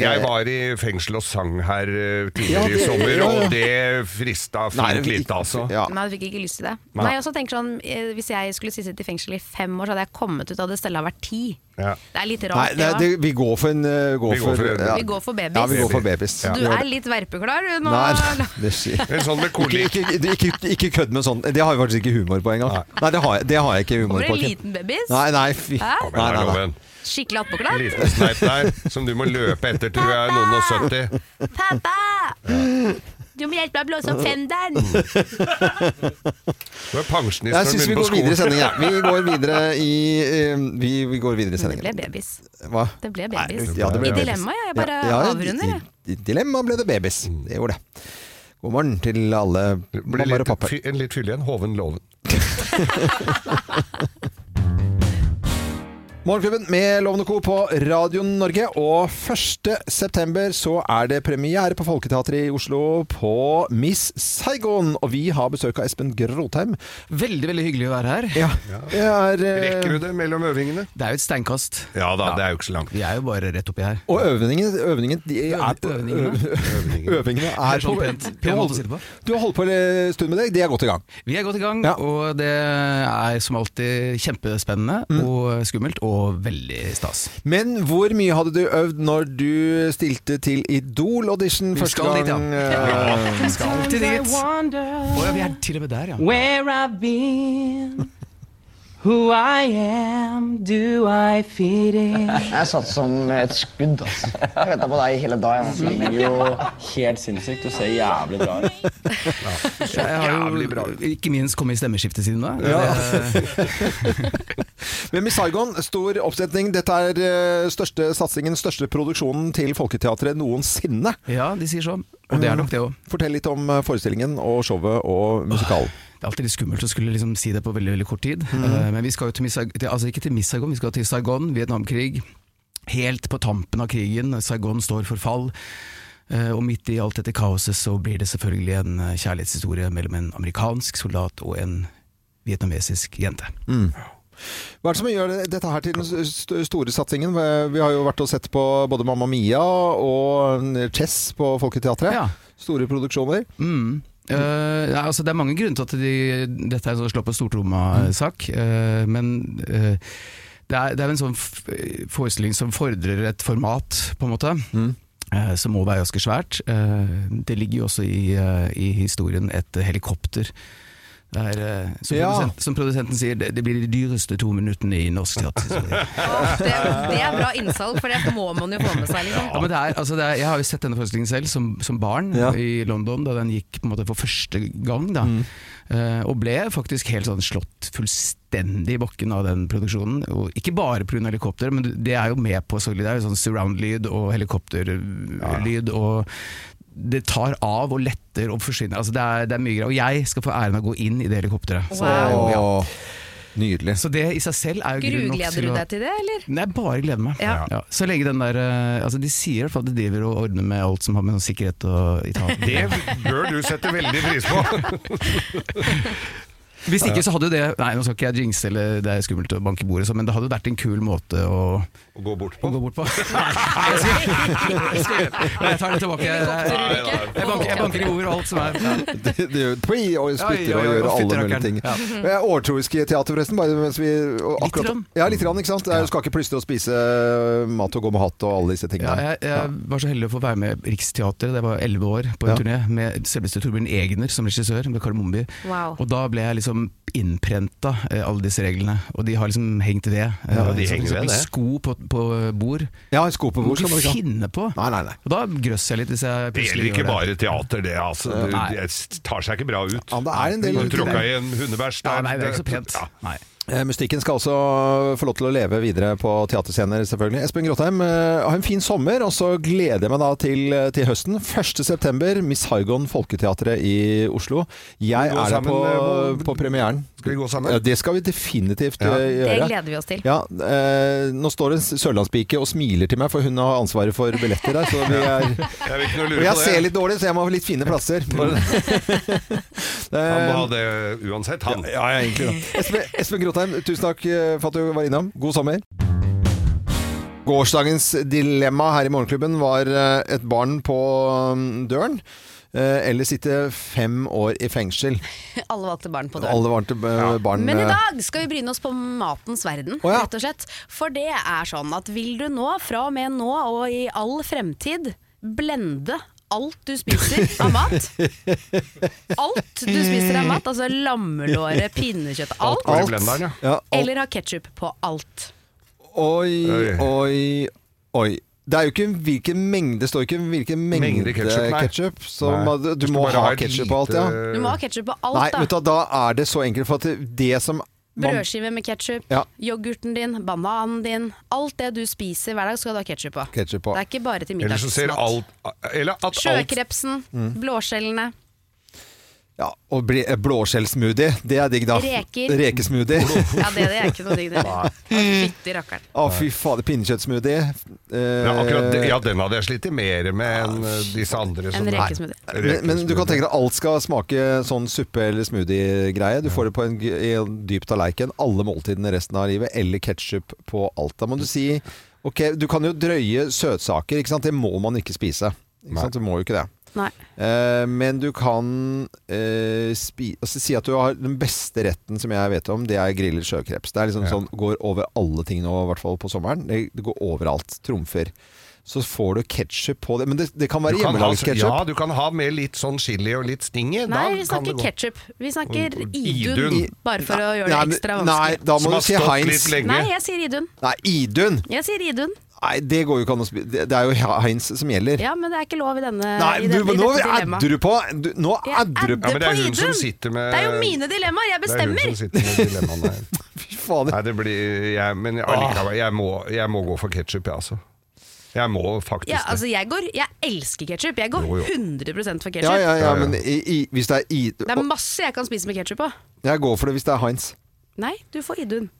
Speaker 4: Jeg var i fengsel og sang her eh,
Speaker 2: Eh. Ja,
Speaker 4: tidligere i
Speaker 2: det-
Speaker 4: sommer,
Speaker 2: ja, ja.
Speaker 4: og det frista fint
Speaker 2: vi-
Speaker 4: lite, altså.
Speaker 2: Ja.
Speaker 3: Nei, jeg fikk ikke lyst til det.
Speaker 4: Nei.
Speaker 3: Nei, jeg også tenker sånn, eh, Hvis jeg skulle sitte i fengsel i fem år, så hadde jeg kommet ut av det stedet jeg har vært ti.
Speaker 4: Ja.
Speaker 3: Det er litt
Speaker 2: Nei,
Speaker 3: rart.
Speaker 2: det,
Speaker 3: det, da.
Speaker 2: det, vi går for en eh, går
Speaker 4: Vi går for en-
Speaker 2: ja.
Speaker 3: Vi går for babies.
Speaker 2: Ja, vi går for babies.
Speaker 4: Ja.
Speaker 3: Du er litt verpeklar du, nå.
Speaker 2: Nei, det skjer.
Speaker 4: En sånn med
Speaker 2: Ikke,
Speaker 4: kolikk.
Speaker 2: ikke, ikke, ikke kødd med sånn. Det har jeg faktisk ikke humor på engang. Nei, det har jeg, det har jeg ikke humor på.
Speaker 3: Kommer det en
Speaker 2: Kim.
Speaker 3: liten babys?
Speaker 2: Nei, nei, fy.
Speaker 3: Hæ?
Speaker 2: Nei,
Speaker 4: Men
Speaker 2: nei,
Speaker 4: det
Speaker 2: nei.
Speaker 4: er loven.
Speaker 3: Skikkelig attpåklart?
Speaker 4: Liten sneip der som du må løpe etter, tror jeg. Noen og 70.
Speaker 3: Pappa! Du må hjelpe meg å blåse opp fenderen!
Speaker 4: Du er pensjonist
Speaker 2: Jeg
Speaker 4: når du
Speaker 2: syns vi
Speaker 4: begynner på
Speaker 2: går videre i
Speaker 4: skolen.
Speaker 2: sendingen. jeg. Vi går videre i, eh, vi, vi går videre i
Speaker 3: Men det ble
Speaker 2: sendingen.
Speaker 3: babys.
Speaker 2: Hva?
Speaker 3: Det ble
Speaker 2: Nei,
Speaker 3: babys.
Speaker 2: ja, det ble
Speaker 3: I
Speaker 2: babies.
Speaker 3: dilemma, ja, jeg bare avrunder,
Speaker 2: i-
Speaker 3: jeg.
Speaker 2: I, I dilemma ble det babies. Det gjorde det. God morgen til alle
Speaker 4: Mm. Blir
Speaker 2: mammaer og
Speaker 4: litt,
Speaker 2: pappaer.
Speaker 4: fy- en litt fyldig en. Hoven Loven.
Speaker 2: Morgenklubben med Lovende Co. på Radio Norge. Og 1.9. så er det premiere på Folketeatret i Oslo på Miss Saigon. Og vi har besøk av Espen Grotheim.
Speaker 8: Veldig veldig hyggelig å være her.
Speaker 2: Ja, det er eh,
Speaker 4: Rekker du det mellom øvingene?
Speaker 8: Det er jo et steinkast.
Speaker 4: Ja da, det er jo ikke så langt.
Speaker 8: Vi er jo bare rett oppi her.
Speaker 2: Og øvingen, øvingen de er på,
Speaker 8: Øvningene.
Speaker 2: øvingene. øvingene er
Speaker 8: sånn pent-
Speaker 2: du
Speaker 8: pen
Speaker 2: har
Speaker 8: måte å si det på.
Speaker 2: holdt- Du har holdt på en stund med deg, de er godt i gang.
Speaker 8: Vi er godt i gang,
Speaker 2: Ja.
Speaker 8: Mm. og det er som alltid kjempespennende og skummelt og og veldig stas.
Speaker 2: Men hvor mye hadde du øvd når du stilte til Idol-audition
Speaker 8: Vi
Speaker 2: første
Speaker 8: skal dit, ja.
Speaker 2: gang? eh,
Speaker 8: Vi skal til dit. Å ja, vi er til og med der, ja.
Speaker 9: Where I've been, who I am, do I fit in?
Speaker 10: Jeg satt som et skudd. Altså. Jeg venta på deg hele dagen. Altså.
Speaker 11: Det blir jo helt sinnssykt. Du ser jævlig bra ut.
Speaker 8: Jeg har jo ikke minst kommet i stemmeskiftet siden da. Det-
Speaker 2: Men Miss Saigon, stor oppsetning. Dette er eh, største satsingen, største produksjonen til Folketeatret noensinne.
Speaker 8: Ja, de sier sånn. Og det er nok det òg.
Speaker 2: Fortell litt om eh, forestillingen og showet og musikalen.
Speaker 8: Det er alltid litt skummelt å skulle liksom si det på veldig veldig kort tid. Eh, men vi skal jo til Missag til, altså ikke til Missagon, vi skal til Saigon, Vietnamkrig. Helt på tampen av krigen, Saigon står for fall. Eh, og midt i alt dette kaoset så blir det selvfølgelig en eh, kjærlighetshistorie mellom en amerikansk soldat og en vietnamesisk jente.
Speaker 2: Mm. Hva er det som gjør det- dette her til den s- st- store satsingen? Vi har jo vært og sett på både Mamma Mia og eh, Chess på Folketeatret.
Speaker 8: Ja.
Speaker 2: Store produksjoner.
Speaker 8: Mm. Eh, ja, altså det er mange grunner til at de, dette er en sånn slå på stortromma-sak, eh, men eh, det, er, det er jo en sånn f- forestilling som fordrer et format, på en måte. eh, Som må være ganske svært. Eh, Det ligger jo også i, eh, i historien et helikopter. Det er, eh, som,
Speaker 2: Ja.
Speaker 8: produsent, som produsenten sier, det, det blir de dyreste to minuttene i norsk teaterhistorie.
Speaker 3: Det, det er bra innsalg, for det må man jo få med seg. Liksom.
Speaker 8: Ja, men det er, altså det er, jeg har jo sett denne forestillingen selv som, som barn
Speaker 2: Ja.
Speaker 8: i London, da den gikk på en måte for første gang. Da, Eh, og ble faktisk helt sånn slått fullstendig i bakken av den produksjonen. Og ikke bare pga. helikopter, men det er jo med på så, Det er jo sånn surround-lyd og helikopterlyd. og det tar av og letter og forsvinner. Altså det, er, det er mye greier. Og jeg skal få æren av å gå inn i det helikopteret. Så, ja.
Speaker 2: Åh, Nydelig.
Speaker 8: så det i seg selv er jo grunn nok
Speaker 3: Grugleder
Speaker 8: til
Speaker 3: du
Speaker 8: å
Speaker 3: deg til det, eller?
Speaker 8: Nei, jeg bare gleder meg.
Speaker 3: Ja.
Speaker 8: Ja. Så lenge den der eh, altså De sier i hvert fall at de driver og ordner med alt som har med noe sikkerhet og Italia
Speaker 4: Det bør du sette veldig pris på.
Speaker 8: Hvis ikke så hadde jo det Nei, nå skal ikke jeg jinxe, eller det er skummelt å banke i bordet, så, men det hadde vært en kul måte å,
Speaker 4: Å gå bort
Speaker 8: å
Speaker 4: på.
Speaker 8: gå bort på. Nei, jeg, skal, jeg, skal, jeg tar det tilbake. Jeg, jeg,
Speaker 4: Nei, nei.
Speaker 8: jeg, banker, jeg banker i bordet og alt som er
Speaker 2: Det det gjør tvi og splitter og
Speaker 8: Oi, oi, oi,
Speaker 2: gjør alle
Speaker 8: fytterakkeren.
Speaker 2: mulige ting.
Speaker 8: Ja.
Speaker 2: Eh, Overtroisk teater, forresten. Bare mens vi, og
Speaker 8: Litt grann.
Speaker 2: Ja, litt grann, ikke sant? Det er- Du skal ikke plystre og spise eh, mat og gå med hatt og alle disse
Speaker 8: Ja,
Speaker 2: tingene.
Speaker 8: jeg, jeg var så heldig å få være med Riksteatret da jeg var elleve år, på en
Speaker 2: Ja.
Speaker 8: turné med selveste Torbjørn Egner som regissør, med Karl Momby.
Speaker 3: Wow.
Speaker 8: Og da ble jeg liksom innprenta eh, alle disse reglene, og de har liksom hengt ved. Eh,
Speaker 4: Ja, de
Speaker 8: så for
Speaker 4: henger ved,
Speaker 8: eksempel
Speaker 4: det. sånn,
Speaker 8: Sko på, på eh, bord.
Speaker 2: Ja, en sko på
Speaker 8: Hvor
Speaker 2: bord skal
Speaker 8: skal
Speaker 2: man
Speaker 8: du
Speaker 2: ikke ha.
Speaker 8: finne på?
Speaker 2: Nei, nei, nei.
Speaker 8: Og da grøss jeg litt hvis jeg
Speaker 4: Det
Speaker 8: plutselig
Speaker 4: gjelder ikke
Speaker 8: gjør det.
Speaker 4: bare teater, det. altså. Du,
Speaker 8: Nei.
Speaker 4: det s- tar seg ikke bra ut.
Speaker 2: Ja, det er en del-
Speaker 4: Du tråkka i en hundebæsj.
Speaker 8: Ja,
Speaker 4: da-
Speaker 8: nei, det er ikke så pent.
Speaker 4: Ja.
Speaker 8: Nei.
Speaker 2: Eh, Mystikken skal også få lov til å leve videre på teaterscener, selvfølgelig. Espen Gråtheim, eh, ha en fin sommer, og så gleder jeg meg da til, til høsten. 1.9. Miss Haigon Folketeatret i Oslo. Jeg
Speaker 4: Skal vi
Speaker 2: er
Speaker 4: gå
Speaker 2: der
Speaker 4: sammen,
Speaker 2: på,
Speaker 4: eh, hvor-
Speaker 2: på premieren.
Speaker 4: Skal vi gå sammen?
Speaker 2: Ja, det skal vi definitivt
Speaker 4: Ja.
Speaker 2: eh,
Speaker 3: Det
Speaker 2: gjøre.
Speaker 3: gleder vi oss til.
Speaker 2: Ja, eh, nå står det en sørlandspike og smiler til meg, for hun har ansvaret for billetter der. Så vi er,
Speaker 4: Jeg vil ikke noe
Speaker 2: og
Speaker 4: lure
Speaker 2: jeg
Speaker 4: på det.
Speaker 2: ser litt dårlig, så jeg må ha litt fine plasser.
Speaker 4: Han må ha
Speaker 2: Eh,
Speaker 4: det uansett, han.
Speaker 2: ja, ja, egentlig da. Espen, Espen Grotheim, tusen takk eh, for at du var innom. God sommer. Gårsdagens dilemma her i Morgenklubben var eh, et barn på mm, døren. eh, Eller sitte fem år i fengsel.
Speaker 7: Alle valgte barn på døren.
Speaker 2: Alle var til eh, barn
Speaker 7: Men i
Speaker 2: eh,
Speaker 7: dag skal vi bryne oss på matens verden,
Speaker 2: Å ja.
Speaker 7: rett og slett. For det er sånn at vil du nå, fra og med nå og i all fremtid, blende alt du spiser av mat? Alt du spiser av mat, altså lammelåret, pinnekjøtt, alt.
Speaker 4: går i blenderen, ja.
Speaker 2: eh, Ja, alt.
Speaker 7: Eller ha ketsjup på alt.
Speaker 2: Oi,
Speaker 4: Oi.
Speaker 2: oi, oi. Det er jo ikke hvilken mengde, det står ikke hvilken mengde,
Speaker 4: Mengde ketchup, nei.
Speaker 2: ketchup. Så
Speaker 4: Nei.
Speaker 2: må- du,
Speaker 4: Hvis
Speaker 2: må
Speaker 4: bare
Speaker 2: ha
Speaker 4: har et
Speaker 2: ketchup på alt, ja.
Speaker 4: lite-
Speaker 7: Du må ha ketsjup på alt,
Speaker 2: Nei,
Speaker 7: da.
Speaker 2: vet du, hva, da er det så enkelt. For at det- det som man-
Speaker 7: Brødskive med ketsjup,
Speaker 2: Ja.
Speaker 7: yoghurten din, bananen din. Alt det du spiser hver dag skal du ha ketsjup på.
Speaker 2: Ketchup på.
Speaker 7: Det er ikke bare til
Speaker 4: Eller så ser
Speaker 7: middagsmat.
Speaker 4: alt Eller at alt
Speaker 7: Sjøkrepsen,
Speaker 2: Mm.
Speaker 7: blåskjellene.
Speaker 2: Ja, og bli- eh, blåskjellsmoothie, det er digg, da.
Speaker 7: Reker.
Speaker 2: Rekesmoothie.
Speaker 7: Ja, det, det er ikke noe digg, det. Fytti rakkeren.
Speaker 2: Å, fy fader. Pinnekjøttsmoothie. Eh,
Speaker 4: ja, akkurat, det- ja, den hadde jeg slitt mer med enn eh, disse andre. som-
Speaker 7: En rekesmoothie.
Speaker 2: men, men du kan tenke deg at alt skal smake sånn suppe- eller smoothie-greie. Du får det på en, g- i en dyp tallerken alle måltidene resten av livet, eller ketsjup på alt. Da må du si Ok, du kan jo drøye søtsaker, ikke sant? Det må man ikke spise. Ikke sant? Du må jo ikke det.
Speaker 3: Nei.
Speaker 2: Eh, men du kan eh, spi altså, si at du har den beste retten som jeg vet om, det er grillet sjøkreps. Det er liksom sånn, går over alle ting nå, i hvert fall på sommeren. Det, det går overalt. Trumfer. Så får du ketsjup på det. Men det, det kan være
Speaker 4: Du kan ha-
Speaker 2: hjemmelagsketsjup.
Speaker 4: Ja, du kan ha med litt sånn chili og litt sting i.
Speaker 3: Nei, vi
Speaker 4: da kan det
Speaker 3: snakker
Speaker 4: gå.
Speaker 3: ketsjup. Vi snakker
Speaker 4: Og- og
Speaker 3: Idun,
Speaker 4: Idun.
Speaker 3: bare for å gjøre det
Speaker 2: Nei, men-
Speaker 3: ekstra
Speaker 2: Nei,
Speaker 3: vanskelig.
Speaker 2: da
Speaker 4: Som
Speaker 2: må
Speaker 4: har
Speaker 2: du si
Speaker 4: stått
Speaker 2: Heinz.
Speaker 4: litt lenge.
Speaker 3: Nei, jeg sier Idun.
Speaker 2: Nei, Idun!
Speaker 3: Jeg sier Idun.
Speaker 2: Nei, det går jo ikke an å spille. Det, det er jo Heinz som gjelder.
Speaker 3: Ja, men det er ikke lov i denne
Speaker 2: Nei,
Speaker 3: i
Speaker 2: du,
Speaker 3: denne, i
Speaker 2: nå
Speaker 3: dette dilemmaet.
Speaker 2: adder du på! Du, nå adder du
Speaker 4: Ja,
Speaker 2: på!
Speaker 4: men det er
Speaker 3: på
Speaker 4: hun som
Speaker 3: Idun.
Speaker 4: sitter med
Speaker 3: Det er jo mine dilemmaer, jeg
Speaker 4: Det er hun
Speaker 3: bestemmer!
Speaker 4: som sitter med dilemmaene her.
Speaker 2: Fy fader.
Speaker 4: Nei, det blir jeg, Men jeg- allikevel, jeg må, jeg må gå for ketsjup, jeg, altså. Jeg må faktisk
Speaker 3: Ja,
Speaker 4: det.
Speaker 3: altså jeg, går, jeg elsker ketsjup. Jeg går
Speaker 4: Jo, jo.
Speaker 3: 100 for
Speaker 2: Ja,
Speaker 3: ketsjup.
Speaker 2: ja, ja,
Speaker 4: Ja, ja.
Speaker 2: men i, i, hvis det er
Speaker 3: Det er
Speaker 2: Idun
Speaker 3: masse jeg kan spise med ketsjup på.
Speaker 2: Jeg går for det hvis det er Heinz.
Speaker 3: Nei, du får Idun.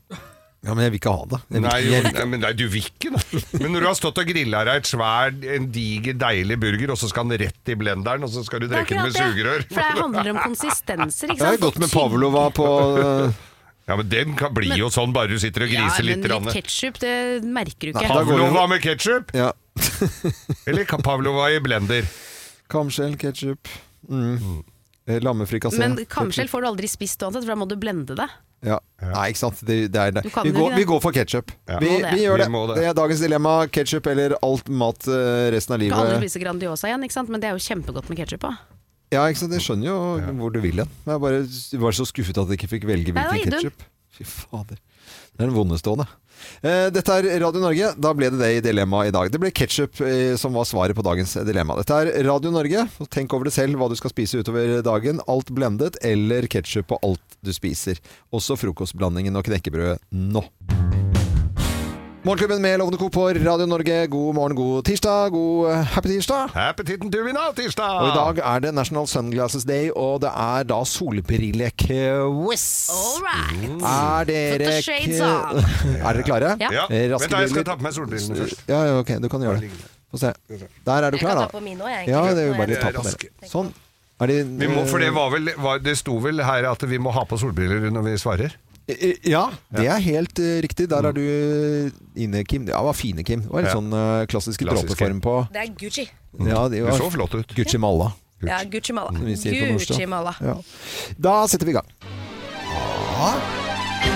Speaker 2: Ja, men jeg vil ikke ha det. Jeg vil
Speaker 4: Nei,
Speaker 2: ikke,
Speaker 4: jo,
Speaker 2: jeg,
Speaker 4: nei, men nei, du vil ikke da. Men når du har stått og grilla deg et svær, en diger, deilig burger, og så skal den rett i blenderen, og så skal du
Speaker 3: Det er
Speaker 4: drikke den med
Speaker 3: akkurat
Speaker 4: sugerør.
Speaker 3: det. For det handler om konsistenser,
Speaker 2: jeg
Speaker 3: ikke
Speaker 2: har
Speaker 3: sant?
Speaker 2: gått med Pavlova på eh,
Speaker 4: Ja, men den kan bli jo sånn, bare du sitter og griser
Speaker 3: ja,
Speaker 4: litt.
Speaker 3: men
Speaker 4: Ranne.
Speaker 3: litt ketsjup, det merker du ikke.
Speaker 4: Pavlova med ketsjup?
Speaker 2: ja.
Speaker 4: Eller ka- Pavlova i blender?
Speaker 2: Kamskjell, ketsjup mm. Eh, Lammefrikassé.
Speaker 3: Men kamskjell får du aldri spist uansett, for da må du blende det.
Speaker 2: Ja. Nei, ikke sant. Det, det er det.
Speaker 3: Du kan
Speaker 2: Vi
Speaker 3: jo ikke
Speaker 2: går,
Speaker 3: det.
Speaker 2: vi går for ketsjup.
Speaker 4: Ja.
Speaker 2: Vi,
Speaker 4: Må det.
Speaker 2: vi gjør
Speaker 4: Vi
Speaker 2: det.
Speaker 4: må det.
Speaker 2: Det er dagens dilemma. Ketsjup eller alt mat eh, resten av
Speaker 3: Du kan aldri
Speaker 2: livet.
Speaker 3: spise Grandiosa igjen, ikke sant? men det er jo kjempegodt med ketsjup på.
Speaker 2: Ja, ikke sant. Jeg skjønner jo hvor du vil hen. Jeg er bare var så skuffet at jeg ikke fikk velge
Speaker 3: Nei,
Speaker 2: hvilken
Speaker 3: det var Idun.
Speaker 2: ketsjup. Fy fader. Det er den vondestående. Eh, Dette er Radio Norge. Da ble det det i dilemmaet i dag. Det ble ketsjup som var svaret på dagens dilemma. Dette er Radio Norge. Tenk over det selv hva du skal spise utover dagen. Alt blendet eller ketsjup på alt du spiser. Også frokostblandingen og knekkebrødet nå. Morgenklubben med Lovende Co på Radio Norge. God morgen, god tirsdag. God eh, happy tirsdag.
Speaker 4: Appetitten til vinner tirsdag!
Speaker 3: Ah.
Speaker 2: Og i dag er det National Sunglasses Day, og det er da solbrillequiz.
Speaker 3: All right.
Speaker 2: Er
Speaker 3: Oh. Put
Speaker 2: dere
Speaker 3: the shades on.
Speaker 2: Er dere klare?
Speaker 3: Ja.
Speaker 4: ja.
Speaker 2: Eh, raske
Speaker 4: Vent da, jeg skal
Speaker 2: briller.
Speaker 4: ta på meg solbrillene først.
Speaker 2: Ja, ja, ok, du kan gjøre det. Få se. Der er du klar, da.
Speaker 3: mine òg,
Speaker 2: Ja, det er jo bare å ta
Speaker 4: Jeg er
Speaker 2: på
Speaker 4: rask.
Speaker 2: dere. Sånn. Er de,
Speaker 4: Vi må, for
Speaker 2: Eh,
Speaker 4: det, var vel, var, det sto vel her at vi må ha på solbriller når vi svarer?
Speaker 2: Eh, Ja, det er helt eh, riktig. Der er du eh, inne, Kim. Ja, var fine, Kim. Det var litt
Speaker 4: Mm. Ja.
Speaker 2: sånn eh, klassiske
Speaker 4: Klassiske.
Speaker 2: dråpeform
Speaker 4: Mm.
Speaker 2: på
Speaker 3: Det er Gucci.
Speaker 2: Ja, de
Speaker 4: Det
Speaker 2: var
Speaker 4: så flott ut.
Speaker 2: Gucci Malla.
Speaker 3: Ja, Gucci Malla.
Speaker 2: Mm, vi sier på norsk, da. Gucci
Speaker 3: Malla.
Speaker 2: Ja. Da setter vi i gang.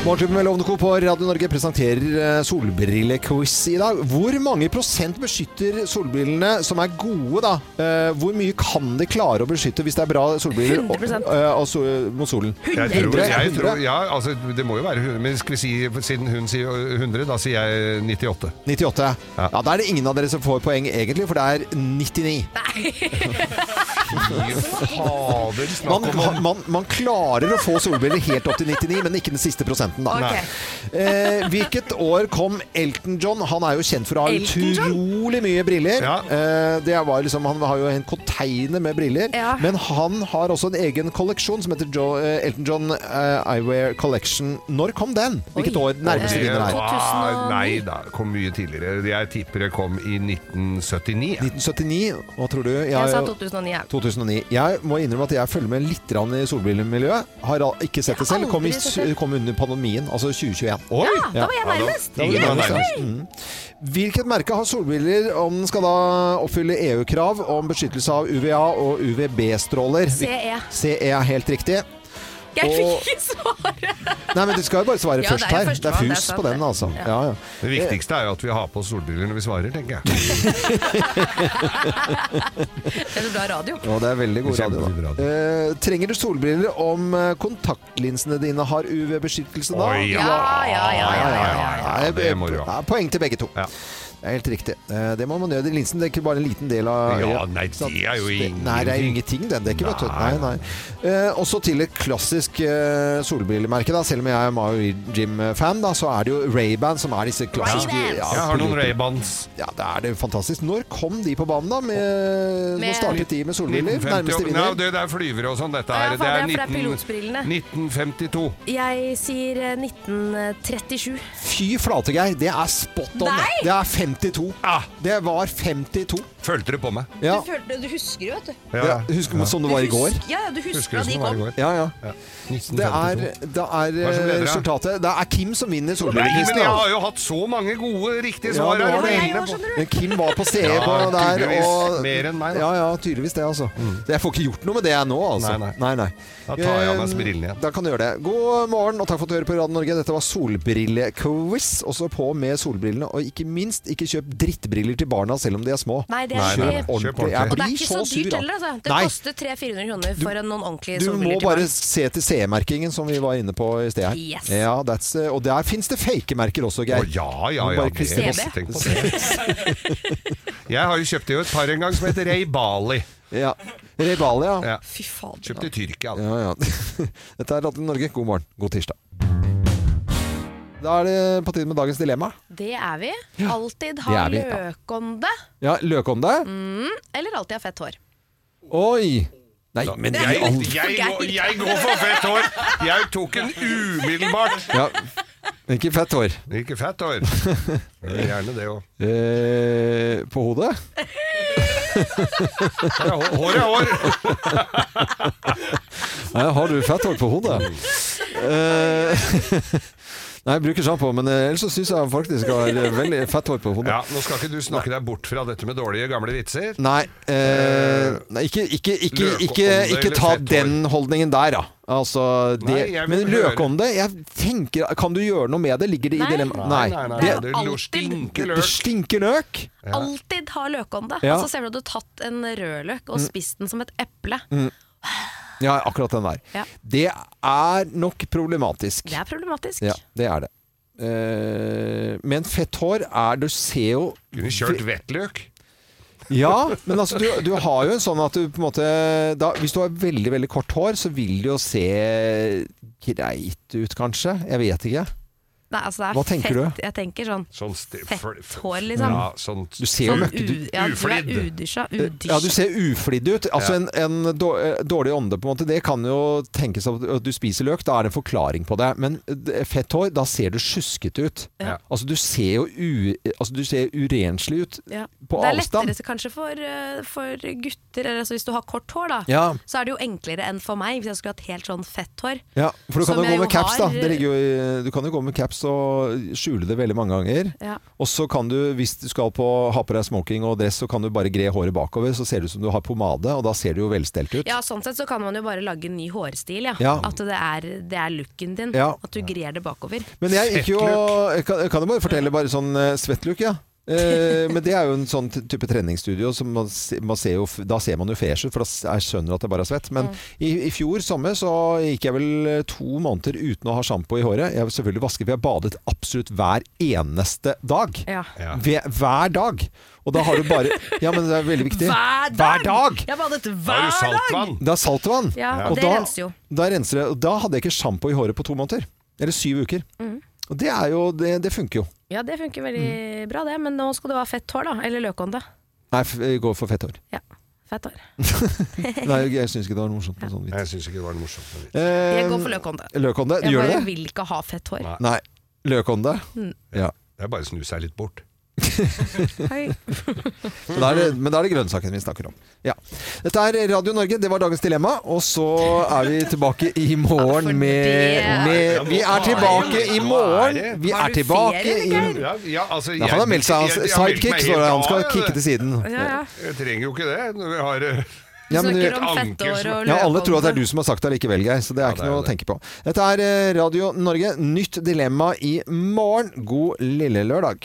Speaker 2: Morgenklubben med Lovende Co. på Radio Norge presenterer eh, solbrillequiz i dag. Hvor mange prosent beskytter solbrillene som er gode, da? Eh, Hvor mye kan de klare å beskytte hvis det er bra solbriller og-
Speaker 3: 100%.
Speaker 2: eh, og sol- mot solen?
Speaker 4: Jeg tror,
Speaker 2: 100,
Speaker 4: jeg
Speaker 2: 100.
Speaker 4: tror, ja, altså, det må jo være hun- Men skal vi si, siden hun sier 100, da sier jeg 98.
Speaker 2: 98. Ja.
Speaker 4: Ja.
Speaker 2: Da er det ingen av dere som får poeng, egentlig, for det er 99.
Speaker 4: Fader, snakk
Speaker 2: Man, man, man, man klarer å få solbriller helt opp til 99, men ikke den siste prosenten, da.
Speaker 4: Nei.
Speaker 2: Eh, hvilket år kom Elton John? Han er jo kjent for å ha
Speaker 3: Elton John?
Speaker 2: utrolig mye briller.
Speaker 4: Ja.
Speaker 2: Eh, det var liksom, han har jo en container med briller.
Speaker 3: Ja.
Speaker 2: Men han har også en egen kolleksjon som heter jo, eh, Elton John eh, Eyewear Collection. Når kom den? Hvilket år? Nærmeste
Speaker 4: Det
Speaker 2: vinner her.
Speaker 4: var- Eh, Nei da, kom mye tidligere. Jeg tipper det kom i 1979.
Speaker 2: 1979. Hva tror du? Jeg,
Speaker 3: 2009. jeg.
Speaker 2: 2009. Jeg må innrømme at jeg følger med litt grann i solbrillemiljøet. Har al- ikke sett det selv. Kom, i,
Speaker 3: aldri sett det.
Speaker 2: kom under pandemien, altså 2021.
Speaker 4: Oi!
Speaker 3: Ja, da var jeg nærmest.
Speaker 4: Ja, da- da var jeg nærmest.
Speaker 2: Mm. Hvilket merke har solbriller om den skal da oppfylle EU-krav om beskyttelse av UVA og UVB-stråler?
Speaker 3: CE.
Speaker 2: CE E er helt riktig.
Speaker 3: Jeg
Speaker 2: Og-
Speaker 3: fikk ikke svaret!
Speaker 2: Nei, men du skal jo bare svare
Speaker 3: Ja,
Speaker 2: først
Speaker 3: det er jo
Speaker 2: her.
Speaker 3: førstemann,
Speaker 2: Det er
Speaker 3: det er
Speaker 2: fus
Speaker 3: sant
Speaker 2: på den,
Speaker 3: det.
Speaker 2: altså. Ja, ja.
Speaker 4: Det viktigste er jo at vi har på oss solbriller når vi svarer, tenker jeg.
Speaker 3: Det er så bra radio.
Speaker 2: Og det er veldig god radio,
Speaker 4: Kjempefin
Speaker 2: da.
Speaker 4: radio.
Speaker 2: Eh, trenger du solbriller om eh, kontaktlinsene dine har UV-beskyttelse da?
Speaker 4: Oi, ja.
Speaker 3: Ja, ja, ja. ja, ja.
Speaker 4: ja, ja, det må du ha.
Speaker 2: Ja, Poeng til begge to.
Speaker 4: Ja.
Speaker 2: Det er helt riktig. Eh, Det må man gjøre. Linsen dekker bare en liten del av
Speaker 4: Ja,
Speaker 2: øyet.
Speaker 4: nei, det
Speaker 2: Så at-
Speaker 4: er jo
Speaker 2: det- Nei, det er jo ingenting den dekker, vet du. Nei, nei. Eh, Også til et klassisk eh, solbrillemerke, da. Selv om jeg er Mario Jim-fan, da, så er det jo Ray-Ban som er disse klassiske ja,
Speaker 4: Jeg har noen
Speaker 2: produkter.
Speaker 4: Raybans.
Speaker 2: Ja, det er det fantastisk. Når kom de på banen, da? Med, Nå
Speaker 3: Med-
Speaker 2: startet de med solbriller.
Speaker 4: 1950
Speaker 2: Nærmeste
Speaker 4: og- Nei,
Speaker 2: vinner.
Speaker 4: det det er flyvere og sånn, dette
Speaker 3: Ja,
Speaker 4: her.
Speaker 3: faen, det er
Speaker 4: Det
Speaker 3: fra
Speaker 4: er 19,
Speaker 3: pilotbrillene.
Speaker 4: 1952.
Speaker 3: Jeg sier eh, 1937.
Speaker 2: Fy flate, Geir. Det er spot on. det.
Speaker 3: Nei!
Speaker 2: Det er 52.
Speaker 4: Ah.
Speaker 2: Det var 52.
Speaker 4: Følte det på meg.
Speaker 2: Ja.
Speaker 12: Du, følte, du husker jo, vet du.
Speaker 2: Ja, husker du sånn det var i
Speaker 12: Du
Speaker 2: går?
Speaker 12: husker- Ja, ja, du husker,
Speaker 4: Husker
Speaker 12: at
Speaker 4: du
Speaker 12: de
Speaker 4: som det var i
Speaker 12: kom.
Speaker 4: går?
Speaker 2: Ja, ja. Det er, det er
Speaker 4: Hva er det som
Speaker 2: eh,
Speaker 4: leder, da?
Speaker 2: resultatet. Det er Kim som vinner
Speaker 4: Nei, men
Speaker 2: Solbergprisen.
Speaker 4: jeg
Speaker 2: ja.
Speaker 4: har jo hatt så mange gode, riktige
Speaker 2: Ja,
Speaker 4: svar
Speaker 2: det
Speaker 4: her.
Speaker 2: var det.
Speaker 4: Jeg var
Speaker 2: Men Kim var på CE på
Speaker 4: Ja,
Speaker 2: der.
Speaker 4: tydeligvis.
Speaker 2: Og,
Speaker 4: Mer enn meg, da. Mm.
Speaker 2: Ja, ja, tydeligvis det, altså. Jeg får ikke gjort noe med det jeg nå, altså.
Speaker 4: Nei,
Speaker 2: nei. nei.
Speaker 4: Da tar jeg av meg
Speaker 2: Eh,
Speaker 4: brillene igjen.
Speaker 2: Da kan du gjøre det. God morgen, og takk for at du hører på Radio Norge. Dette var solbrillequiz. Også på med solbrillene. Og ikke minst, ikke kjøp drittbriller til barna selv om de er små.
Speaker 12: Nei, det er
Speaker 2: kjøp
Speaker 12: det.
Speaker 2: ordentlig.
Speaker 12: Og
Speaker 2: Jeg
Speaker 12: det er
Speaker 2: blir
Speaker 12: ikke
Speaker 2: så
Speaker 12: så
Speaker 2: sur.
Speaker 12: dyrt
Speaker 2: av-
Speaker 12: heller, altså. Det
Speaker 2: Nei,
Speaker 12: koster 300-400 kroner for en- noen ordentlige
Speaker 2: du må
Speaker 12: solbriller til
Speaker 2: bare
Speaker 12: barn.
Speaker 2: se til CE-merkingen som vi var inne på i sted her.
Speaker 12: Yes.
Speaker 2: Ja, that's, eh, og der fins det fake merker også, Geir.
Speaker 4: Å, ja, ja,
Speaker 2: Bare
Speaker 4: ja.
Speaker 2: Christer
Speaker 4: det-
Speaker 2: Voss.
Speaker 4: Tenk på det. Jeg har jo kjøpt det jo et par en gang som heter Ray Bali.
Speaker 2: Ja. Ray Bali, ja.
Speaker 12: Fy fader.
Speaker 4: Kjøpt i Tyrkia. altså.
Speaker 2: Ja, ja. Dette er Radio Norge. God morgen. God tirsdag. Da er det på tide med dagens dilemma.
Speaker 12: Det er vi. Alltid
Speaker 2: Det
Speaker 12: ha
Speaker 2: er vi, ja.
Speaker 12: løkonde.
Speaker 2: Ja, løk om det.
Speaker 12: Mm, eller alltid ha fett hår.
Speaker 2: Oi! Nei, men
Speaker 4: Jeg,
Speaker 2: i all-
Speaker 4: jeg, går- jeg går for fett hår! Jeg tok en umiddelbart.
Speaker 2: ja. Ikke fett hår.
Speaker 4: Ikke fett hår. Gjerne det òg.
Speaker 2: Eh, på hodet?
Speaker 4: Ja, hå- hår er hår.
Speaker 2: Nei, har du fett hår på hodet? Eh, Nei, jeg bruker sjampo, men eh, ellers så syns jeg faktisk jeg har eh, veldig fett hår på hodet.
Speaker 4: Ja, nå skal ikke du snakke deg bort fra dette med dårlige, gamle vitser.
Speaker 2: Nei, eh, nei ikke, ikke, ikke,
Speaker 4: Løkonde
Speaker 2: ikke, ikke
Speaker 4: eller
Speaker 2: ta
Speaker 4: fett hår?
Speaker 2: den holdningen der, da. Altså, det,
Speaker 4: Nei, jeg vil
Speaker 2: men
Speaker 4: høre.
Speaker 2: løkonde jeg tenker, Kan du gjøre noe med det? Ligger det i dilemmaet?
Speaker 4: Nei, nei, nei,
Speaker 2: Det,
Speaker 4: det lo- stinker
Speaker 2: det
Speaker 4: løk.
Speaker 2: stinker løk.
Speaker 3: Alltid ha løkonde.
Speaker 2: Ja.
Speaker 3: Altså, ser du at du har tatt en rødløk og
Speaker 2: Mm.
Speaker 3: spist den som et eple.
Speaker 2: Mm. Ja, akkurat den der.
Speaker 3: Ja.
Speaker 2: Det er nok problematisk.
Speaker 3: Det er problematisk.
Speaker 2: Ja, det er det. Eh, men fett hår er Du ser jo
Speaker 4: Kunne kjørt vettløk.
Speaker 2: Ja, men altså, du, du har jo en sånn at du på en måte da, Hvis du har veldig, veldig kort hår, så vil det jo se greit ut, kanskje. Jeg vet ikke.
Speaker 3: Nei, altså, det er
Speaker 2: Hva tenker
Speaker 3: fett.
Speaker 2: du?
Speaker 3: Jeg tenker sånn
Speaker 4: Sånn
Speaker 3: fett hår, liksom.
Speaker 2: Ja,
Speaker 4: sånn
Speaker 2: Du ser jo
Speaker 3: Sånn
Speaker 2: møkkete
Speaker 3: u- Ja, du er udysja.
Speaker 2: Ja, du ser uflidd ut. Altså
Speaker 4: Ja.
Speaker 2: en, en då- eh, dårlig ånde, på en måte. Det kan jo tenkes at at du spiser løk, da er det en forklaring på det. Men eh, fett hår, da ser du sjuskete ut.
Speaker 3: Ja.
Speaker 2: Altså du ser jo u, altså, du ser urenslig ut
Speaker 3: Ja.
Speaker 2: på
Speaker 3: det er
Speaker 2: avstand.
Speaker 3: lettere så kanskje for, eh, for gutter, eller altså hvis du har kort hår, da.
Speaker 2: Ja.
Speaker 3: Så er det jo enklere enn for meg, hvis jeg skulle hatt helt sånn fett hår.
Speaker 2: Ja, for du kan
Speaker 3: Som
Speaker 2: jo
Speaker 3: jeg
Speaker 2: gå med
Speaker 3: jo
Speaker 2: caps, da.
Speaker 3: har-
Speaker 2: Det ligger jo i, du kan jo gå med caps og skjule det veldig mange ganger.
Speaker 3: Ja.
Speaker 2: Og så kan du, hvis du skal på, ha på deg smoking og dress, så kan du bare gre håret bakover, så ser det ut som du har pomade, og da ser du jo velstelt ut.
Speaker 3: Ja, sånn sett så kan man jo bare lage en ny hårstil, ja.
Speaker 2: Ja.
Speaker 3: At det er, det er looken din.
Speaker 2: Ja.
Speaker 3: At du grer det bakover.
Speaker 2: Men jeg gikk jo jeg Kan, jeg kan jo bare fortelle bare sånn eh, svettluk, ja. Eh, men det er jo en sånn t- type treningsstudio som man, se- man ser jo, f- Da ser man jo fresh ut, for da s- jeg skjønner at det bare er svett. Men i, i fjor sommer så gikk jeg vel eh, to måneder uten å ha sjampo i håret. Jeg har selvfølgelig vasket, for jeg badet absolutt hver eneste dag.
Speaker 3: Ja.
Speaker 4: Ja.
Speaker 2: Ved, hver dag! Og da har du bare Ja, men det er veldig viktig. Hver dag!
Speaker 3: Jeg badet
Speaker 4: Har
Speaker 3: hver
Speaker 4: du saltvann?
Speaker 2: Det er saltvann.
Speaker 3: Ja, og det renser jo.
Speaker 2: Da renser det. Og da hadde jeg ikke sjampo i håret på to måneder. Eller syv uker.
Speaker 3: Mhm.
Speaker 2: Og det, er jo, det, det funker jo.
Speaker 3: Ja, det funker veldig bra det, men nå skal du ha fett hår, da. Eller løkhånde.
Speaker 2: Nei, f- jeg går for fett hår.
Speaker 3: Fett hår.
Speaker 2: Nei, jeg syns ikke det var morsomt med sånn
Speaker 4: Jeg
Speaker 2: vits.
Speaker 4: syns ikke det var noe morsomt. med det.
Speaker 2: Eh,
Speaker 3: Jeg går for løkhånde.
Speaker 2: Løkhånde.
Speaker 3: Jeg
Speaker 2: Gjør du
Speaker 3: bare
Speaker 2: det?
Speaker 3: vil ikke ha fett hår.
Speaker 4: Nei.
Speaker 2: Nei. Løkhånde.
Speaker 3: Mm.
Speaker 2: Ja.
Speaker 4: Det er bare å snu seg litt bort.
Speaker 3: Hei.
Speaker 2: Men da er det, men da er det grønnsaken vi snakker om. Ja. Dette er Radio Norge, det var dagens dilemma. Og så er vi tilbake i morgen med, med Vi er tilbake i morgen! Vi er tilbake i
Speaker 4: ja, ja, altså,
Speaker 2: Ja, han har meldt seg. Han,
Speaker 4: jeg- jeg- jeg har meldt
Speaker 2: sidekick,
Speaker 4: meg
Speaker 2: står det. Han
Speaker 4: helt
Speaker 2: skal
Speaker 4: av,
Speaker 2: kikke
Speaker 4: det.
Speaker 2: til siden.
Speaker 3: Ja, ja.
Speaker 4: Jeg trenger jo ikke det når vi har eh,
Speaker 2: Ja, men
Speaker 3: Snakker
Speaker 2: du-
Speaker 3: om
Speaker 4: anker
Speaker 3: fett hår
Speaker 4: som-
Speaker 3: og
Speaker 2: Ja, alle tror at det
Speaker 3: løkhånde.
Speaker 2: er du som har sagt det likevel, Geir, så det er ikke
Speaker 4: det er
Speaker 2: noe å tenke på. Dette er eh, Radio Norge. Nytt dilemma i morgen. God lille lørdag.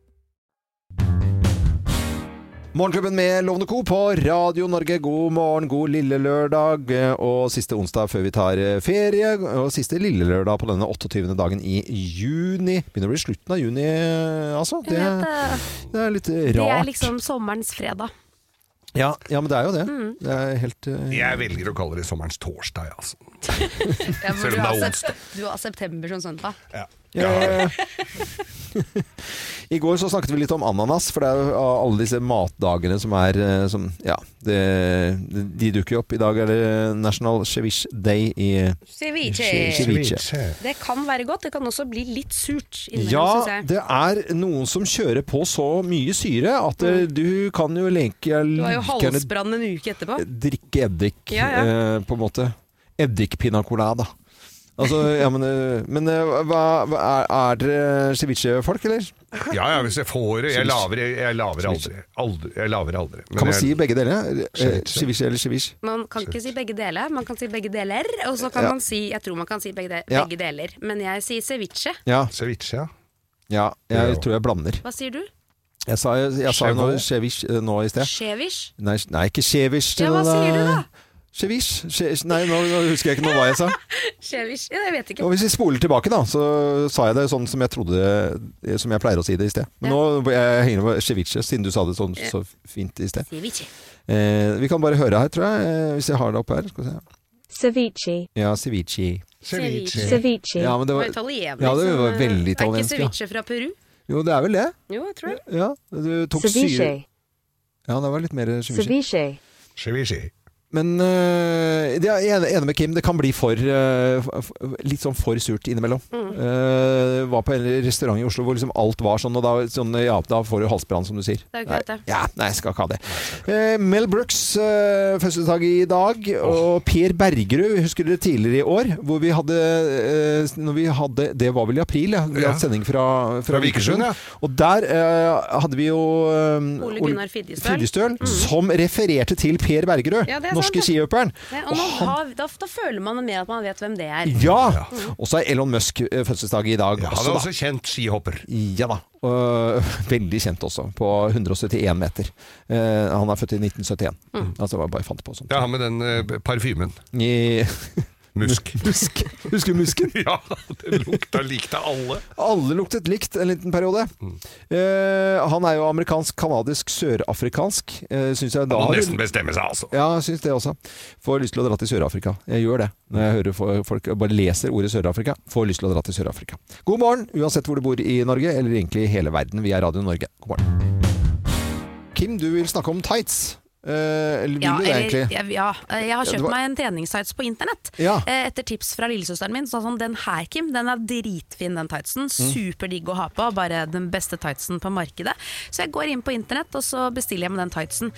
Speaker 2: Morgenklubben med Lovende Co. på Radio Norge. God morgen, god lille lørdag. eh, Og siste onsdag før vi tar eh, ferie. Og siste lille lørdag på denne 28. dagen i juni. Begynner å bli slutten av juni, eh, altså. Det,
Speaker 3: Jeg vet det.
Speaker 2: det er litt
Speaker 3: Det liksom
Speaker 2: rart.
Speaker 3: er liksom sommerens fredag.
Speaker 2: Ja, ja, men det er jo det.
Speaker 3: Mm.
Speaker 2: Det er helt eh,
Speaker 4: Jeg velger å kalle det sommerens torsdag, altså.
Speaker 13: Ja, for
Speaker 4: Selv
Speaker 13: du,
Speaker 4: om
Speaker 13: har
Speaker 4: det er
Speaker 13: sep- du har september som
Speaker 3: sånn,
Speaker 13: søndag.
Speaker 2: Ja. I går så snakket vi litt om ananas, for det er jo av alle disse matdagene som er eh, som, Ja, det, de dukker jo opp. I dag er det National Ceviche Day i eh,
Speaker 3: Ceviche.
Speaker 2: Ceviche.
Speaker 3: Det kan være godt, det kan også bli litt surt. innimellom,
Speaker 2: Ja,
Speaker 3: synes jeg.
Speaker 2: det er noen som kjører på så mye syre at eh, du kan jo lenke
Speaker 3: Mm. Du har jo halsbrann en uke etterpå.
Speaker 2: drikke eddik,
Speaker 3: Ja, ja.
Speaker 2: Eh, på en måte. Eddik pina colada. Altså, ja, men, eh, men eh, hva, hva, er, er dere ceviche-folk, eller?
Speaker 4: Ja, ja, hvis jeg får det. Jeg laver, jeg laver aldri. aldri. Jeg laver aldri. Men
Speaker 2: Kan man
Speaker 4: jeg-
Speaker 2: si begge deler? Eh,
Speaker 4: Ceviche.
Speaker 2: Ceviche eller ceviche?
Speaker 3: Man kan ikke si begge deler, man kan si begge deler. Og så kan
Speaker 2: Ja.
Speaker 3: man si Jeg tror man kan si begge, de
Speaker 2: Ja.
Speaker 3: begge deler, men jeg sier ceviche.
Speaker 2: Ja.
Speaker 4: Ceviche, ja.
Speaker 2: Ja, jeg tror jeg blander.
Speaker 3: Hva sier du?
Speaker 2: Jeg sa, jeg, jeg sa jo noe ceviche eh, nå i sted.
Speaker 3: Chevish?
Speaker 2: Nei, nei, ikke ceviche.
Speaker 3: Ja, hva sier du da?
Speaker 2: Ceviche. ce- Nei, nå, nå husker jeg ikke noe hva jeg sa.
Speaker 3: Chevish? Ja, jeg vet ikke.
Speaker 2: Og hvis vi spoler tilbake, da, så sa jeg det sånn som jeg trodde eh, Som jeg pleier å si det i sted. Men nå jeg henger jeg over ceviche, siden du sa det sånn så fint i sted.
Speaker 3: Ceviche.
Speaker 2: Eh, vi kan bare høre her, tror jeg. Eh, hvis jeg har det oppe her. Skal vi se.
Speaker 3: Ceviche.
Speaker 2: Ja, ceviche.
Speaker 3: Ceviche.
Speaker 2: Ja, men det var,
Speaker 3: Det var italiensk,
Speaker 2: Ja, det var
Speaker 3: men,
Speaker 2: veldig
Speaker 3: Er
Speaker 2: italiensk.
Speaker 3: ikke
Speaker 2: Ja.
Speaker 3: ceviche fra Peru?
Speaker 2: Jo, det er vel det.
Speaker 3: Jo, jeg tror det.
Speaker 2: Ja, du tok syre Ja, det var litt mer ceviche. Men øh, det er jeg er enig med Kim, det kan bli for, øh, f- litt sånn for surt innimellom.
Speaker 3: Mm.
Speaker 2: Eh, var på en restaurant i Oslo hvor liksom alt var sånn, og da, sånn, ja, da får du halsbrann, som du sier.
Speaker 3: Det er jo greit, det.
Speaker 2: Ja, nei, jeg skal ikke ha det. Eh, Mel Brooks, uh, fødselsdag i dag, og Per Bergerud, husker dere tidligere i år, hvor vi hadde, eh, når vi hadde Det var vel i april, ja. Vi
Speaker 4: Ja.
Speaker 2: hadde sending fra,
Speaker 4: Fra Vikersund, ja.
Speaker 2: Og der eh, hadde vi jo eh,
Speaker 3: Ole Gunnar Fidjestøl.
Speaker 2: Fidjestøl, som refererte til Per Bergerud,
Speaker 3: Mm. Ja, det er
Speaker 2: norske
Speaker 3: sant, ja.
Speaker 2: skihøperen.
Speaker 3: Nei, Eh, og nå har, da, da føler man mer at man vet hvem det er.
Speaker 2: Ja!
Speaker 3: Mm.
Speaker 2: Og så er Elon Musk eh, fødselsdag i dag
Speaker 4: Han
Speaker 2: også,
Speaker 4: er
Speaker 2: da.
Speaker 4: også kjent skihopper.
Speaker 2: Ja da. Og, veldig kjent også, på 171 meter. Eh, han er født i 1971.
Speaker 4: Mm.
Speaker 2: Altså, jeg bare fant på sånt.
Speaker 4: Det er han med den eh, parfymen.
Speaker 2: I...
Speaker 4: Musk.
Speaker 2: Musk. Husker du musken?
Speaker 4: ja, den lukta likte alle.
Speaker 2: Alle luktet likt en liten periode. Eh, han er jo amerikansk, kanadisk, sørafrikansk. Eh, syns jeg da
Speaker 4: Han må
Speaker 2: har-
Speaker 4: nesten bestemme seg, altså.
Speaker 2: Ja, jeg syns det også. Får lyst til å dra til Sør-Afrika. Jeg gjør det. Når jeg hører fo- folk bare leser ordet Sør-Afrika, får lyst til å dra til Sør-Afrika. God morgen, uansett hvor du bor i Norge, eller egentlig i hele verden. Vi er Radio Norge. God morgen. Kim, du vil snakke om tights. Eh, eller vil
Speaker 3: Ja,
Speaker 2: du det,
Speaker 3: eller,
Speaker 2: egentlig?
Speaker 3: jeg, ja, jeg har
Speaker 2: Ja, det
Speaker 3: kjøpt
Speaker 2: var-
Speaker 3: meg en treningstights på internett.
Speaker 2: Ja.
Speaker 3: Eh, Etter tips fra lillesøsteren min. Sånn som den her, Kim, den er dritfin, den tightsen.
Speaker 2: Mm.
Speaker 3: Superdigg å ha på. Bare den beste tightsen på markedet. Så jeg går inn på internett, og så bestiller jeg meg den tightsen.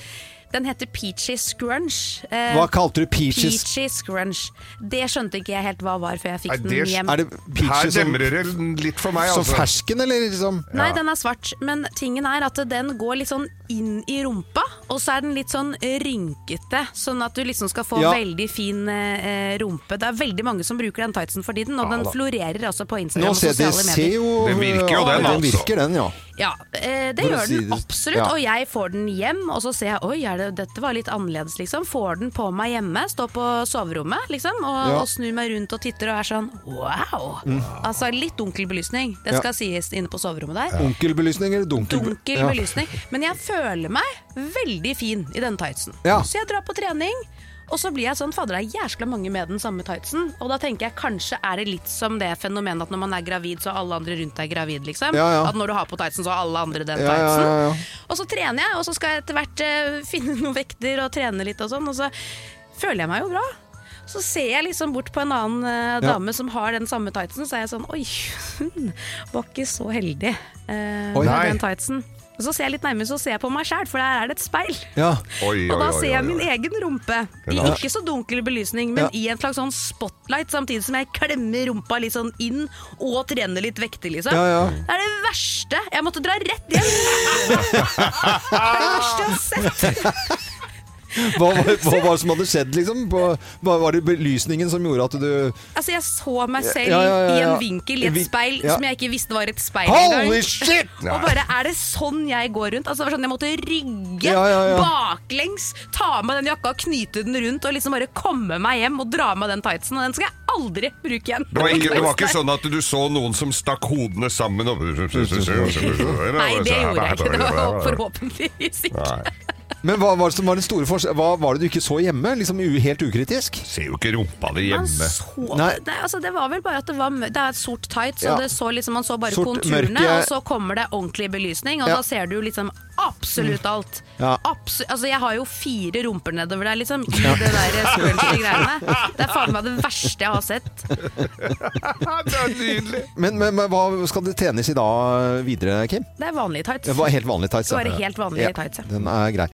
Speaker 3: Den heter Peachy Scrunch. Eh,
Speaker 2: Hva kalte du peaches?
Speaker 3: Peachy Scrunch. Det skjønte ikke jeg helt hva var før jeg fikk
Speaker 2: Er det-
Speaker 3: den hjem.
Speaker 2: er det
Speaker 4: Her
Speaker 2: Peaches som-
Speaker 4: demrer det litt for meg,
Speaker 2: Som
Speaker 4: altså.
Speaker 2: fersken, eller liksom?
Speaker 3: Nei, den er svart, men tingen er at den går litt sånn inn i rumpa, og så er den litt sånn rynkete, sånn at du liksom skal få
Speaker 2: Ja.
Speaker 3: veldig fin eh, rumpe. Det er veldig mange som bruker den tightsen for tiden, og
Speaker 2: Ja
Speaker 3: den
Speaker 2: da.
Speaker 3: florerer også på Instagram
Speaker 2: Nå
Speaker 3: og
Speaker 2: ser det
Speaker 3: sosiale
Speaker 2: ser
Speaker 3: medier.
Speaker 2: jo
Speaker 4: Den virker jo, den,
Speaker 2: Den
Speaker 4: altså.
Speaker 2: virker, den, ja.
Speaker 3: Ja, eh, det
Speaker 2: For å
Speaker 3: gjør
Speaker 2: si
Speaker 3: den
Speaker 2: det-
Speaker 3: absolutt,
Speaker 2: ja.
Speaker 3: og jeg får den hjem, og så ser jeg oi, er det, dette var litt annerledes, liksom. Får den på meg hjemme, står på soverommet, liksom, og,
Speaker 2: Ja.
Speaker 3: og snur meg rundt og titter og er sånn wow. Altså litt dunkel belysning, det
Speaker 2: Mm. Ja.
Speaker 3: skal sies inne på soverommet der.
Speaker 2: Onkelbelysning eller dunkel...
Speaker 3: Dunkel
Speaker 2: Ja.
Speaker 3: belysning. Men jeg føler meg veldig fin i den tightsen.
Speaker 2: Ja.
Speaker 3: Så jeg drar på trening, og så blir jeg sånn Fader, det er jæskla mange med den samme tightsen. Og da tenker jeg kanskje er det litt som det fenomenet at når man er gravid, så er alle andre rundt deg gravid, liksom.
Speaker 2: Ja, ja.
Speaker 3: At når du har på tightsen, så har alle andre den
Speaker 2: Ja, ja,
Speaker 3: tightsen.
Speaker 2: ja, ja.
Speaker 3: Og så trener jeg, og så skal jeg etter hvert eh, finne noen vekter og trene litt og sånn, og så føler jeg meg jo bra. Så ser jeg liksom bort på en annen eh,
Speaker 2: Ja.
Speaker 3: dame som har den samme tightsen, så er jeg sånn Oi, hun var ikke så heldig eh,
Speaker 2: Oi.
Speaker 3: med
Speaker 2: Nei.
Speaker 3: den tightsen. Og så ser jeg litt nærmere, så ser jeg på meg sjæl, for der er det et speil.
Speaker 2: Ja.
Speaker 3: og da ser jeg min egen rumpe, i
Speaker 2: Ja.
Speaker 3: ikke så dunkel belysning, men
Speaker 2: Ja.
Speaker 3: i en slags sånn spotlight, samtidig som jeg klemmer rumpa litt sånn inn og trener litt vekter, liksom.
Speaker 2: Ja, ja.
Speaker 3: Det er det verste! Jeg måtte dra rett hjem! Det er det verste jeg har sett!
Speaker 2: Hva, var- hva var det som hadde skjedd, liksom? På, hva var det belysningen som gjorde at du
Speaker 3: Altså, jeg så meg selv
Speaker 2: Ja, ja, ja,
Speaker 3: i
Speaker 2: ja.
Speaker 3: en vinkel i et
Speaker 2: Vi-
Speaker 3: speil
Speaker 2: ja.
Speaker 3: som jeg ikke visste var et speil
Speaker 2: Holy
Speaker 3: engang.
Speaker 2: shit! Nei.
Speaker 3: Og bare Er det sånn jeg går rundt? Altså, det var sånn Jeg måtte rygge
Speaker 2: Ja, ja, ja.
Speaker 3: baklengs, ta av meg den jakka, knyte den rundt og liksom bare komme meg hjem og dra av meg den tightsen. Og den skal jeg aldri bruke igjen.
Speaker 4: Det var, ikke, det var ikke sånn at du så noen som stakk hodene sammen og
Speaker 3: Nei, det gjorde jeg ikke. Det var forhåpentligvis ikke.
Speaker 4: Nei.
Speaker 2: Men hva var det som var den store forskjellen? Hva var det du ikke så hjemme? Liksom u helt ukritisk?
Speaker 4: Ser jo ikke rumpa di
Speaker 5: Man
Speaker 4: hjemme.
Speaker 5: så
Speaker 2: Nei.
Speaker 5: det, altså det var vel bare at det var mør- Det er et sort tight, så
Speaker 2: Ja.
Speaker 5: det så liksom, man så bare
Speaker 2: Sort,
Speaker 5: konturene,
Speaker 2: mørke-
Speaker 5: og så kommer det ordentlig belysning, og
Speaker 2: Ja. Mm.
Speaker 5: da ser du liksom absolutt alt.
Speaker 2: Ja.
Speaker 5: Absu altså jeg har jo fire rumper nedover der, liksom, i det der squelchy greiene. Det er faen meg det verste jeg har sett.
Speaker 4: det er nydelig.
Speaker 2: Men, men, men hva skal det trenes i da videre, Kim?
Speaker 5: Det er vanlige tights.
Speaker 2: Det var helt vanlig tights. ja.
Speaker 5: Bare helt vanlige
Speaker 2: ja.
Speaker 5: tights, ja.
Speaker 2: Den er grei.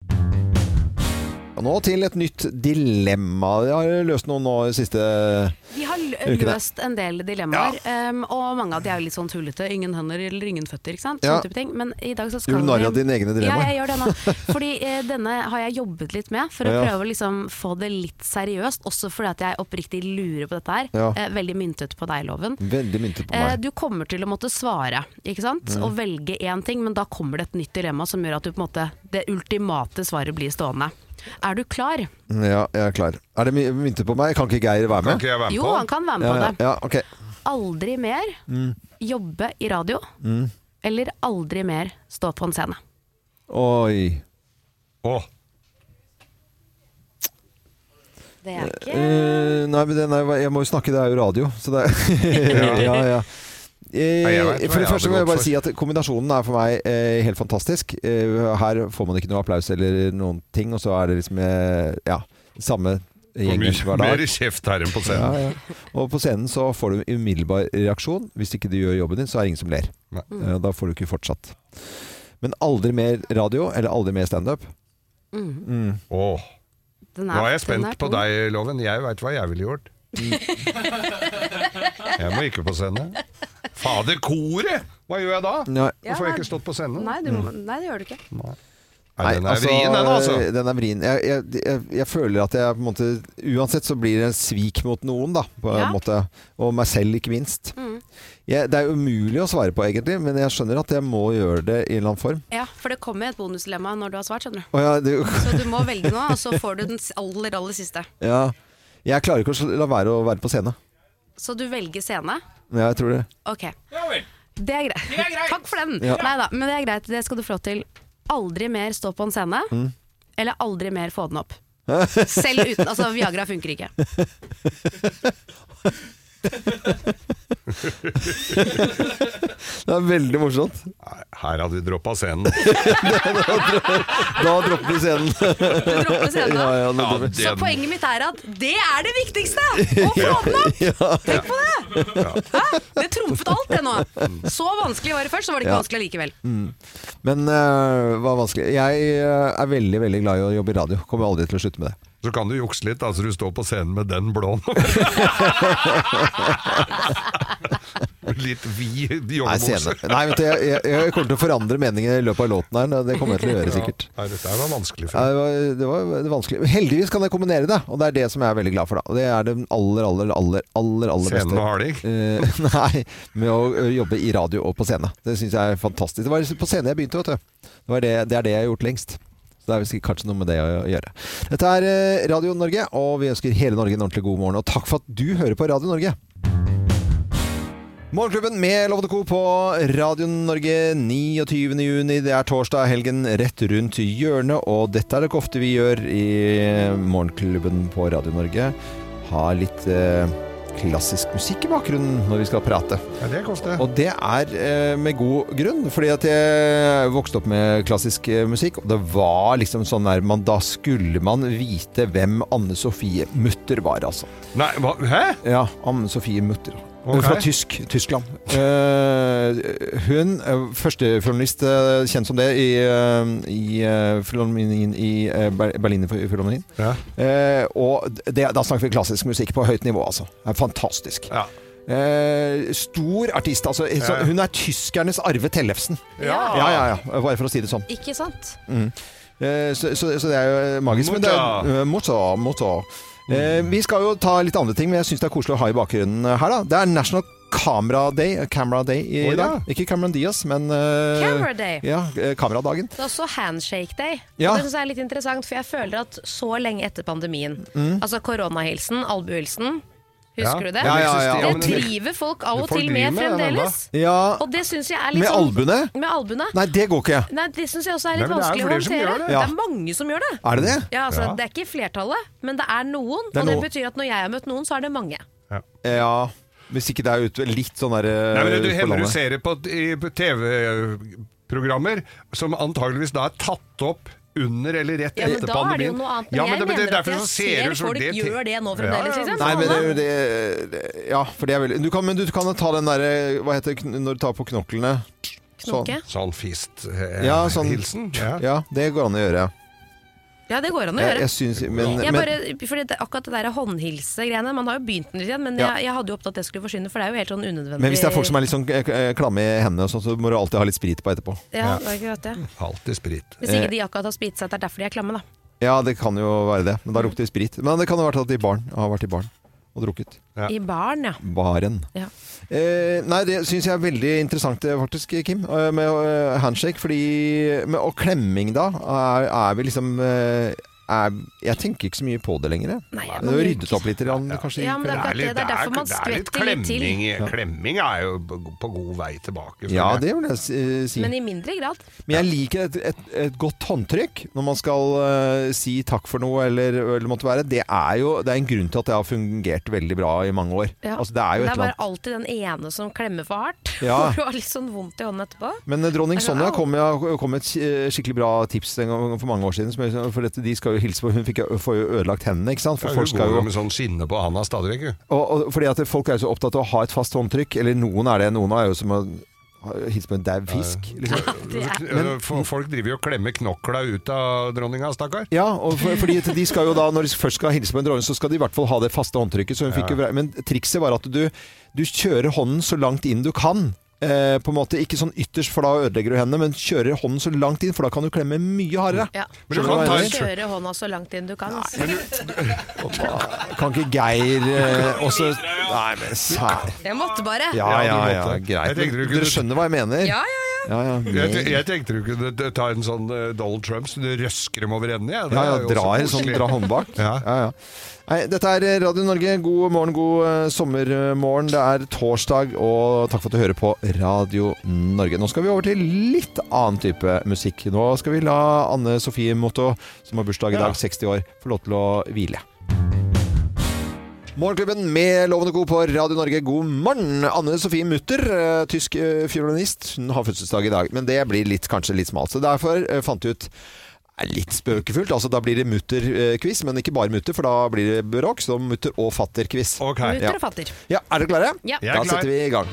Speaker 2: Og nå til et nytt dilemma. Jeg har løst noen nå i siste
Speaker 5: Vi har
Speaker 2: Er
Speaker 5: lø-
Speaker 2: det ikke det?
Speaker 5: løst en del dilemmaer, em, og mange av de er jo litt sånn tullete. Ingen hender eller ingen føtter, ikke sant?
Speaker 2: Ja.
Speaker 5: Sånn type ting. Men i dag så skal
Speaker 2: Gjør du narr
Speaker 5: vi-
Speaker 2: av dine egne
Speaker 5: Ja,
Speaker 2: dilemmaer?
Speaker 5: jeg gjør det nå. Fordi eh, denne har jeg jobbet litt med, for å
Speaker 2: Ja.
Speaker 5: prøve å liksom få det litt seriøst. Også fordi at jeg oppriktig lurer på dette her.
Speaker 2: Ja.
Speaker 5: Eh, veldig myntet på deg, Loven.
Speaker 2: Veldig myntet på
Speaker 5: Eh,
Speaker 2: meg.
Speaker 5: Du kommer til å måtte svare, ikke sant?
Speaker 2: Mm.
Speaker 5: Og velge én ting, men da kommer det et nytt dilemma som gjør at du på en måte, det ultimate svaret blir stående. Er du klar?
Speaker 2: Ja, jeg er klar. Er det my- myntet på meg? Kan ikke Geir være med?
Speaker 4: Kan ikke jeg være med
Speaker 5: Jo, på? han kan være med
Speaker 2: ja,
Speaker 5: på
Speaker 2: ja,
Speaker 5: det.
Speaker 2: Ja, ok.
Speaker 5: Aldri mer
Speaker 2: Mm.
Speaker 5: jobbe i radio.
Speaker 2: Mm.
Speaker 5: Eller aldri mer stå på en scene.
Speaker 2: Oi.
Speaker 5: Det er ikke
Speaker 2: Eh, nei, men den er, jeg må jo snakke, det er jo radio. Så det er Ja, ja. Eh,
Speaker 4: Nei, jeg vet hva
Speaker 2: for
Speaker 4: jeg
Speaker 2: det første
Speaker 4: hadde
Speaker 2: må jeg
Speaker 4: gått
Speaker 2: bare
Speaker 4: for.
Speaker 2: si at kombinasjonen er for meg eh, helt fantastisk. Eh, her får man ikke noe applaus eller noen ting, og så er det liksom eh, ja, samme gjengen
Speaker 4: Mye-
Speaker 2: hver dag.
Speaker 4: Mer kjeft her enn på scenen.
Speaker 2: Ja, ja. Og på scenen så får du umiddelbar reaksjon. Hvis ikke du gjør jobben din, så er det ingen som ler.
Speaker 4: Nei.
Speaker 2: Eh, Da får du ikke fortsatt. Men aldri mer radio, eller aldri mer standup.
Speaker 5: Mm.
Speaker 2: Mm.
Speaker 4: Åh.
Speaker 5: Den er-
Speaker 4: Nå er jeg
Speaker 5: den
Speaker 4: spent
Speaker 5: er
Speaker 4: på
Speaker 5: tung.
Speaker 4: deg, Loven. Jeg veit hva jeg ville gjort. Jeg må ikke på scenen. Fader, koret! Hva gjør jeg da?
Speaker 2: Nei.
Speaker 4: Hvorfor har jeg ikke stått på scenen?
Speaker 5: Nei,
Speaker 2: mm.
Speaker 5: du må, nei, det gjør du ikke.
Speaker 4: Nei, den er vrien, den, altså.
Speaker 2: eh, Den er vrien. Jeg, jeg, jeg, jeg føler at jeg på en måte Uansett så blir det en svik mot noen, da. På en
Speaker 5: Ja.
Speaker 2: måte. Og meg selv, ikke minst. Jeg, det er umulig å svare på, egentlig, men jeg skjønner at jeg må gjøre det i en eller annen form.
Speaker 5: Ja, for det kommer et bonusdilemma når du har svart, skjønner du.
Speaker 2: Å, ja, det-
Speaker 5: Så du må velge nå, og så får du den s- aller, aller siste.
Speaker 2: Ja. Jeg klarer ikke å sl- la være å være på scene.
Speaker 5: Så du velger scene.
Speaker 2: Men jeg tror det.
Speaker 5: Ok. Det er greit. Takk for den.
Speaker 2: Ja.
Speaker 5: Nei da, men det er greit. Det skal du få lov til. Aldri mer stå på en scene,
Speaker 2: Mm.
Speaker 5: eller aldri mer få den opp. Selv uten Altså, Viagra funker ikke.
Speaker 2: det er veldig morsomt.
Speaker 4: Her hadde vi droppa scenen.
Speaker 2: Da dropper vi scenen.
Speaker 4: dropper scenen, da?
Speaker 2: Ja, ja, nå
Speaker 4: Ja,
Speaker 2: dropper vi.
Speaker 5: Så poenget mitt er at det er det viktigste! Å få den opp!
Speaker 2: Ja.
Speaker 5: Tenk på det! Hæ? Det trumfet alt, det nå. Så vanskelig var det først, så var det ikke
Speaker 2: Ja.
Speaker 5: vanskelig likevel.
Speaker 2: Mm. Men eh, hva vanskelig Jeg eh, er veldig veldig glad i å jobbe i radio. Kommer aldri til å slutte med det.
Speaker 4: Så kan du jukse litt, da, så du står på scenen med den blåen. litt
Speaker 2: Nei,
Speaker 4: vid joggebukse.
Speaker 2: senere. Nei, vet du, jeg, jeg, jeg kommer til å forandre meningen i løpet av låten her. Det kommer jeg til å gjøre, sikkert.
Speaker 4: Ja, nei, dette her var vanskelig.
Speaker 2: Ja, det, var, det var det var vanskelig. Heldigvis kan jeg kombinere det, og det er det som jeg er veldig glad for. Da. Og det er den aller, aller, aller aller, aller beste.
Speaker 4: Scenen og harding?
Speaker 2: Eh, nei, med å ø, jobbe i radio og på scene. Det syns jeg er fantastisk. Det var på scene jeg begynte, vet du. Det, var det, det er det jeg har gjort lengst. Så det er vel sikkert kanskje noe med det å gjøre. Dette er eh, Radio Norge, og vi ønsker hele Norge en ordentlig god morgen. Og takk for at du hører på Radio Norge. Morgenklubben med Lovende Co. på Radio Norge 29. juni. Det er torsdag, helgen rett rundt hjørnet, og dette er det ikke ofte vi gjør i Morgenklubben på Radio Norge. Ha litt eh, klassisk musikk i bakgrunnen når vi skal prate.
Speaker 4: Ja, det koster.
Speaker 2: Og det er eh, med god grunn, fordi at jeg vokste opp med klassisk eh, musikk, og det var liksom sånn der man Da skulle man vite hvem Anne Sofie Mutter var, altså.
Speaker 4: Nei, hva? Hæ?
Speaker 2: Ja, Anne Sofie Mutter.
Speaker 4: Ok.
Speaker 2: Fra Tysk, Tyskland. Eh, hun, eh, førstefilominist eh, kjent som det i, eh, i, eh, filharmonien i eh, Ber- Berlin-filharmonien.
Speaker 4: Ja.
Speaker 2: Eh, og det, da snakker vi klassisk musikk på høyt nivå, altså. Det er fantastisk. Eh, stor artist. Altså, eh, så,
Speaker 4: Ja. Ah.
Speaker 2: hun er tyskernes Arve Tellefsen.
Speaker 5: Ja.
Speaker 2: ja, ja, ja. Bare for å si det sånn.
Speaker 5: Ikke sant?
Speaker 2: Mm. Eh, Så, så, så det er jo magisk. Men det er,
Speaker 4: Motta. Mm.
Speaker 2: eh, motta, motta. Eh, vi skal jo ta litt andre ting, men jeg syns det er koselig å ha i bakgrunnen eh, her. da Det er National Camera Day, eh, Camera Day i
Speaker 4: Å, ja.
Speaker 2: dag. Ikke Cameron Diaz, men eh,
Speaker 12: Camera Day.
Speaker 2: Ja, eh, kameradagen.
Speaker 12: Det er også handshake day.
Speaker 2: Ja.
Speaker 12: Og Det synes jeg er litt interessant, for jeg føler at så lenge etter pandemien
Speaker 2: Mm.
Speaker 12: Altså koronahilsen, albuehilsen,
Speaker 2: Ja.
Speaker 5: Husker du det?
Speaker 2: Ja, ja, ja. Ja, men
Speaker 5: Det
Speaker 2: det-
Speaker 5: driver folk av og
Speaker 2: Folk
Speaker 5: til
Speaker 2: driver
Speaker 5: med
Speaker 2: med det
Speaker 5: fremdeles.
Speaker 2: Ja.
Speaker 5: Og det syns jeg er litt
Speaker 2: Med
Speaker 5: sånn-
Speaker 2: albuene?
Speaker 5: Med albuene.
Speaker 2: Nei, det går ikke.
Speaker 5: Nei, det syns jeg også er
Speaker 2: Nei,
Speaker 5: litt
Speaker 2: men det er
Speaker 5: vanskelig å
Speaker 2: flere som
Speaker 5: håndtere.
Speaker 2: gjør det.
Speaker 5: Det
Speaker 2: Ja.
Speaker 5: er mange som gjør det.
Speaker 2: Er det det?
Speaker 5: Ja, altså,
Speaker 2: Ja.
Speaker 5: Det er ikke flertallet, men det er noen.
Speaker 2: Det er
Speaker 5: og det
Speaker 2: noen.
Speaker 5: betyr at når jeg har møtt noen, så er det mange.
Speaker 2: Ja. Hvis ikke det er ute litt sånn der eh,
Speaker 4: Nei, men du
Speaker 2: på
Speaker 4: hender du
Speaker 2: landet.
Speaker 4: ser det på, i- på TV-programmer som antageligvis da er tatt opp under eller rett
Speaker 5: Ja, men
Speaker 4: etter
Speaker 5: da er det jo
Speaker 4: pandemien.
Speaker 5: noe annet. Men
Speaker 4: Ja,
Speaker 5: jeg
Speaker 4: men det-
Speaker 5: mener
Speaker 4: det-
Speaker 5: at
Speaker 4: derfor
Speaker 5: jeg
Speaker 4: så
Speaker 5: ser
Speaker 4: du så
Speaker 5: folk
Speaker 4: til-
Speaker 5: gjør det nå fremdeles, liksom.
Speaker 2: Nei, men det,
Speaker 5: Alle.
Speaker 2: det, det Ja, for det er veldig du kan, Men du kan ta den derre Hva heter det kn- når du tar på knoklene?
Speaker 5: Knoke?
Speaker 4: Sånn fist eh,
Speaker 2: Ja, sånn
Speaker 4: hilsen.
Speaker 2: Ja. det går an å gjøre.
Speaker 5: Ja, det går an å
Speaker 2: Jeg,
Speaker 5: gjøre.
Speaker 2: jeg syns Men,
Speaker 5: jeg
Speaker 2: men
Speaker 5: bare, fordi det, akkurat det der håndhilse-greiene Man har jo begynt med det igjen, men
Speaker 2: Ja.
Speaker 5: jeg, jeg hadde jo håpet at det skulle forsvinne, for det er jo helt sånn unødvendig.
Speaker 2: men hvis det er folk som er litt sånn eh, eh, klamme i hendene, og sånn, så må du alltid ha litt sprit på etterpå.
Speaker 5: Ja, det er akkurat det.
Speaker 4: Alltid sprit.
Speaker 5: Hvis ikke de akkurat har spritt seg, at det er derfor de er klamme, da.
Speaker 2: Ja, det kan jo være det. Men da lukter det sprit. Men det kan ha vært at de barn har vært i baren og drukket.
Speaker 5: I baren, ja.
Speaker 2: Baren.
Speaker 5: ja.
Speaker 2: Eh, nei, det syns jeg er veldig interessant eh, faktisk, Kim. eh, Med eh, handshake. Fordi med, Og klemming, da. Er, er vi liksom eh, er, Jeg tenker ikke så mye på det lenger. jeg.
Speaker 5: Nei,
Speaker 2: det er jo ryddet opp litt, grann, kanskje. i
Speaker 5: Ja, men det er akkurat det. Det er derfor man skvetter litt til.
Speaker 4: klemming.
Speaker 2: Ja.
Speaker 4: Klemming er jo b- på god vei tilbake. føler
Speaker 2: Ja,
Speaker 4: jeg.
Speaker 2: det vil jeg si. si.
Speaker 5: Men i mindre grad.
Speaker 2: Men jeg liker et, et, et godt håndtrykk når man skal eh, si takk for noe eller, eller måtte være. Det er jo det er en grunn til at det har fungert veldig bra i mange år.
Speaker 5: Ja.
Speaker 2: Altså, det er jo
Speaker 5: Men
Speaker 2: et eller
Speaker 5: bare
Speaker 2: annet.
Speaker 5: alltid den ene som klemmer for hardt.
Speaker 2: Ja.
Speaker 5: Hvor du har litt sånn vondt i hånden etterpå.
Speaker 2: Men eh, dronning
Speaker 5: Eller
Speaker 2: Sonja
Speaker 5: au.
Speaker 2: kom, ja, kom med et eh, skikkelig bra tips en gang for mange år siden. Som, jeg- for dette, de skal jo hilse på Hun fikk, jo- får jo ødelagt hendene, ikke sant? For
Speaker 4: Ja,
Speaker 2: folk
Speaker 4: Hun
Speaker 2: skal
Speaker 4: går jo
Speaker 2: jo
Speaker 4: med sånn skinne på handa stadig vekk, hun.
Speaker 2: og, og, Fordi at folk er jo så opptatt av å ha et fast håndtrykk. Eller noen er det. Noen er jo som å hilse på en dau fisk. Liksom.
Speaker 4: Men- For- Folk driver jo og klemmer knokla ut av dronninga, stakkar.
Speaker 2: Ja, og for, fordi at de skal jo da, når de først skal hilse på en dronning, så skal de i hvert fall ha det faste håndtrykket. Så hun fikk jo,
Speaker 4: Ja.
Speaker 2: vre- men trikset var at du, du kjører hånden så langt inn du kan. Eh, på en måte Ikke sånn ytterst, for da ødelegger du hendene, men kjører hånden så langt inn, for da kan du klemme mye hardere.
Speaker 5: Ja.
Speaker 2: Men du kan, ta en
Speaker 5: Kjøre hånda så langt inn du kan. altså.
Speaker 2: kan ikke Geir eh, også Nei, men sær.
Speaker 5: Jeg måtte bare.
Speaker 2: Ja, ja, ja,
Speaker 4: måtte. Jeg
Speaker 2: greit.
Speaker 4: tenkte du
Speaker 2: Men
Speaker 4: kunne-
Speaker 2: Dere skjønner hva jeg mener?
Speaker 5: Ja,
Speaker 2: ja, ja.
Speaker 4: Jeg, te- jeg tenkte du kunne d- ta en sånn eh, Donald Trump, så du røsker dem over enden.
Speaker 2: Ja, ja, dra en sånn dra hånd bak. Ja. Ja, Nei, dette er eh, Radio Norge. God morgen, god eh, sommermorgen. Det er torsdag, og takk for at du hører på Radio Norge. Nå skal vi over til litt annen type musikk. Nå skal vi la Anne Sofie Motto, som har bursdag i dag, 60 år, få lov til å hvile. Morgenklubben med Lovende Co. på Radio Norge, god morgen! Anne Sofie Mutter, eh, tysk eh, fiolinist, hun har fødselsdag i dag. Men det blir litt, kanskje litt smalt. Så derfor eh, fant jeg ut eh, litt spøkefullt. Altså, da blir det mutter-quiz, men ikke bare mutter, for da blir det bråk. Så mutter- og fatter-quiz.
Speaker 5: Mutter og fatter.
Speaker 2: Ja, Er dere klare?
Speaker 5: Ja. Jeg er
Speaker 2: Da
Speaker 5: klar.
Speaker 2: setter vi i gang.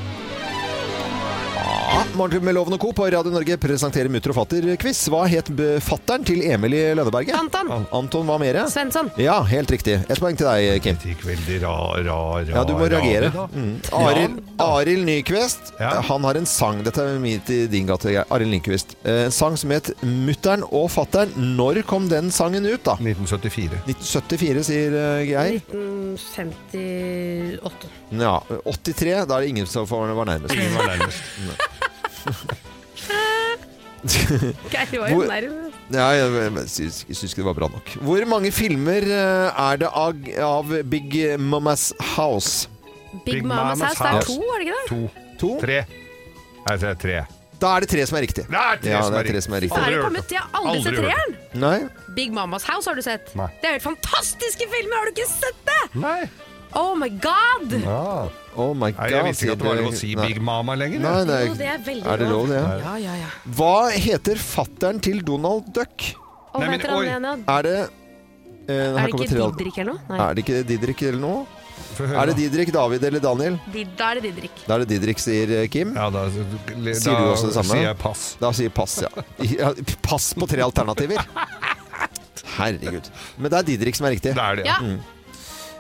Speaker 2: Ja, Morgenklubben med Loven og Co. på Radio Norge presenterer Mutter og fatter-quiz. Hva het b- fatteren til Emil i Lønneberget?
Speaker 5: Anton.
Speaker 2: Anton hva mere?
Speaker 5: Svensson.
Speaker 2: Ja, helt riktig. Et poeng til deg, Kim.
Speaker 4: Det gikk veldig ra, ra, ra.
Speaker 2: Ja, du må
Speaker 4: ra-
Speaker 2: reagere.
Speaker 4: da.
Speaker 2: Mm.
Speaker 4: Ja.
Speaker 2: Arild, Arild Nyquist, han har en sang Dette er midt i din gate, Geir. Arild Nyquist. Eh, En sang som het 'Mutter'n og fatter'n'. Når kom den sangen ut, da?
Speaker 4: 1974.
Speaker 2: 1974, sier eh, Geir.
Speaker 5: 1958.
Speaker 2: Ja, 83. Da er det ingen som får- var nærmest.
Speaker 4: Ingen var nærmest.
Speaker 5: Geir var jo
Speaker 2: Hvor-
Speaker 5: nærmest.
Speaker 2: Ja, jeg, jeg, jeg syns jeg syns ikke det var bra nok. Hvor mange filmer eh, er det av, av Big Mamas House?
Speaker 5: Big Mamas House, det er to, er det ikke det?
Speaker 4: To.
Speaker 2: To?
Speaker 4: Tre. Nei, det er tre.
Speaker 2: Da er det tre som er riktig.
Speaker 4: Det er tre,
Speaker 2: ja,
Speaker 4: som,
Speaker 2: det
Speaker 4: er
Speaker 2: er tre som er riktig.
Speaker 5: Og er det kommet til? Jeg har aldri sett
Speaker 2: hørt det.
Speaker 5: treeren!
Speaker 2: Nei.
Speaker 5: Big Mamas House har du sett.
Speaker 2: Nei.
Speaker 5: Det er jo helt fantastiske filmer, har du ikke sett det?!
Speaker 4: Nei.
Speaker 5: Oh my god!
Speaker 2: Oh my god.
Speaker 4: Nei, jeg visste ikke at det var lov å si
Speaker 2: Nei.
Speaker 4: Big Mama lenger.
Speaker 2: Nei, det er,
Speaker 5: Jo, det er veldig
Speaker 2: det lov, det?
Speaker 5: Ja, ja, ja.
Speaker 2: Hva heter fatteren til Donald Duck?
Speaker 5: Og Nei, men, heter han oi. igjen, ja?
Speaker 2: Er det eh, her
Speaker 5: det
Speaker 2: kommer
Speaker 5: ikke
Speaker 2: tre-
Speaker 5: Didrik eller noe? Nei.
Speaker 2: Er det ikke Didrik eller noe?
Speaker 4: høre,
Speaker 2: Er det Didrik, David eller Daniel?
Speaker 5: Did- Da er det Didrik.
Speaker 2: Da er det Didrik, sier eh, Kim.
Speaker 4: Ja, da,
Speaker 2: sier du også det samme?
Speaker 4: sier jeg pass.
Speaker 2: Da sier pass, ja. ja. Pass på tre alternativer. Herregud. Men det er Didrik som er riktig. Mm.
Speaker 4: Det er
Speaker 5: det, ja. Ja.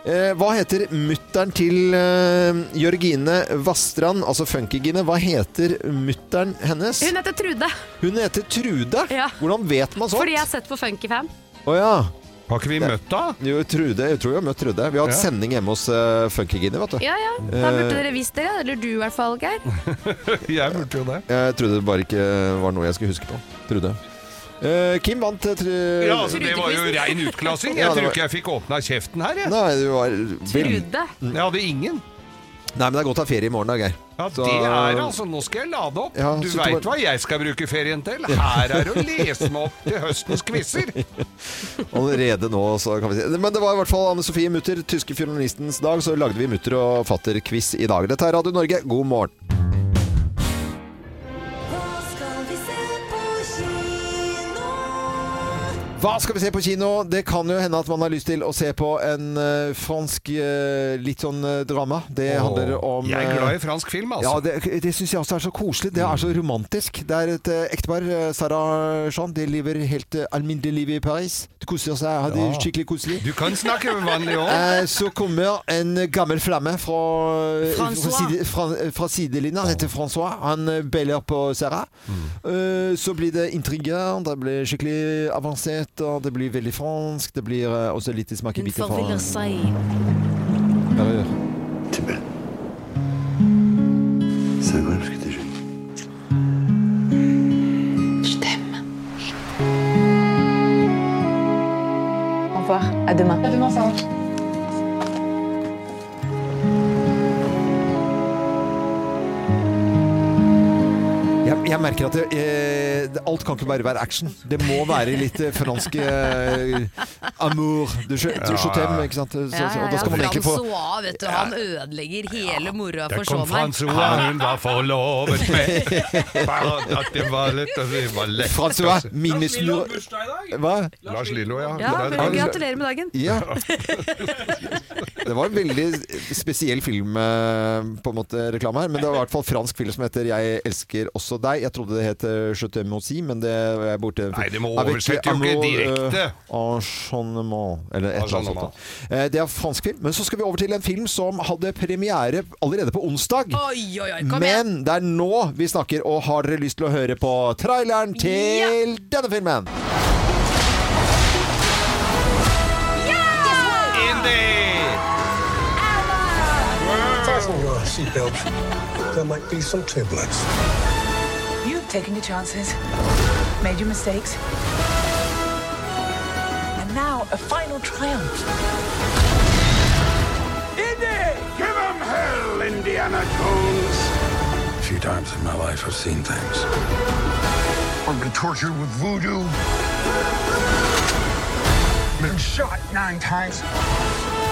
Speaker 2: Eh, hva heter mutteren til eh, Jørgine Vastrand, altså Funkygine? Hva heter mutteren hennes?
Speaker 5: Hun heter Trude,
Speaker 2: Hun heter Trude.
Speaker 5: Ja.
Speaker 2: Hvordan vet man sånt?
Speaker 5: fordi jeg har sett på Funky Fam.
Speaker 2: Å ja.
Speaker 4: Har ikke vi møtt da?
Speaker 2: Jo, Trude, jeg tror vi har møtt Trude. Vi har hatt
Speaker 4: Ja.
Speaker 2: sending hjemme hos uh, Funkygine, vet du. Eh,
Speaker 5: Ja, ja. Da burde dere visst det, eller du i hvert fall, Geir.
Speaker 4: Jeg burde jo det.
Speaker 2: Jeg trodde det bare ikke var noe jeg skulle huske på. Trude. Eh, Kim vant eh, tr-
Speaker 4: Ja, altså, det var jo rein utklassing.
Speaker 2: Ja,
Speaker 4: Jeg
Speaker 2: det
Speaker 4: tror
Speaker 2: var-
Speaker 4: ikke jeg fikk åpna kjeften her, jeg.
Speaker 2: Nei, du var vel-
Speaker 4: Trude. Jeg hadde ingen.
Speaker 2: Nei, men det er godt å ha ferie i morgen, da, Geir.
Speaker 4: Ja,
Speaker 2: Så-
Speaker 4: Det er altså, Nå skal jeg lade opp.
Speaker 2: Ja,
Speaker 4: du
Speaker 2: så det
Speaker 4: veit
Speaker 2: var-
Speaker 4: hva jeg skal bruke ferien til. Her er å lese meg opp til høstens quizer.
Speaker 2: Allerede nå, så kan vi si. Men det var i hvert fall Anne Sofie Mutter, tyske fjordalistens dag, så lagde vi Mutter og fatter-quiz i dag. Dette er Radio Norge, god morgen. Hva skal vi se på kino? Det kan jo hende at man har lyst til å se på en eh, fransk eh, litt sånn eh, drama. Det
Speaker 4: Åh,
Speaker 2: handler om
Speaker 4: jeg er
Speaker 2: eh,
Speaker 4: glad i fransk film, altså.
Speaker 2: Ja, det, det syns jeg også er så koselig. Det er så romantisk. Det er et eh, ektepar, eh, Sarah Jean, de lever helt eh, alminnelig liv i Paris. De koser seg, har det
Speaker 4: Ja.
Speaker 2: skikkelig koselig.
Speaker 4: Du kan snakke vanlig òg.
Speaker 2: Eh, Så kommer en gammel flamme fra, eh, fra,
Speaker 4: François.
Speaker 2: side, fra, eh, fra sidelinja. Han heter Francois. Han eh, beller på Sarah.
Speaker 4: Mm.
Speaker 2: Eh, Så blir det intriger. Det blir skikkelig avansert, og det blir veldig fransk. Det blir eh, også litt smakebiter fra Bare hør.
Speaker 14: C'est vrai parce que t'es jeune.
Speaker 15: Je t'aime. Au revoir, à demain. À demain, Sarah.
Speaker 2: Jeg, jeg merker at det, eh, det- alt kan ikke bare være action. Det må være litt eh, fransk eh, amour. Du, skjø- du
Speaker 4: Ja,
Speaker 2: skjønner,
Speaker 4: ja.
Speaker 2: ikke sant? Så,
Speaker 5: Ja,
Speaker 2: så,
Speaker 5: ja,
Speaker 2: og da skal man
Speaker 5: ja.
Speaker 2: egentlig få
Speaker 5: Francois, vet du, han ødelegger hele moroa
Speaker 4: Der
Speaker 5: for
Speaker 4: kom Francois, hun var forlovet med Bare At det var lett, at det var lett.
Speaker 2: Francois,
Speaker 4: altså.
Speaker 2: minneslur Hva?
Speaker 4: Lars Lillo, ja.
Speaker 5: Ja,
Speaker 4: Nei,
Speaker 5: vel, gratulerer med dagen.
Speaker 2: Ja. Det var en veldig spesiell film, eh, på en måte, reklame her. Men det var i hvert fall fransk film som heter 'Jeg elsker også deg'. Jeg trodde det het eh, 'Je t'aime aussi', men det var jeg borte.
Speaker 4: Nei, det må oversette jo ikke direkte.
Speaker 2: Enchantement, eh, eller et eller annet sånt. da. Eh, Det er fransk film. Men så skal vi over til en film som hadde premiere allerede på onsdag.
Speaker 5: Oi, oi, oi, kom igjen!
Speaker 2: Men det er nå vi snakker, og har dere lyst til å høre på traileren til denne filmen?
Speaker 16: Fasten your seatbelt. There might be some turbulence.
Speaker 17: You've taken your chances, made your mistakes, and now a final triumph.
Speaker 14: Indy! Give him hell, Indiana Jones! A few times in my life I've seen things. I'm gonna torture with voodoo. Been shot nine times,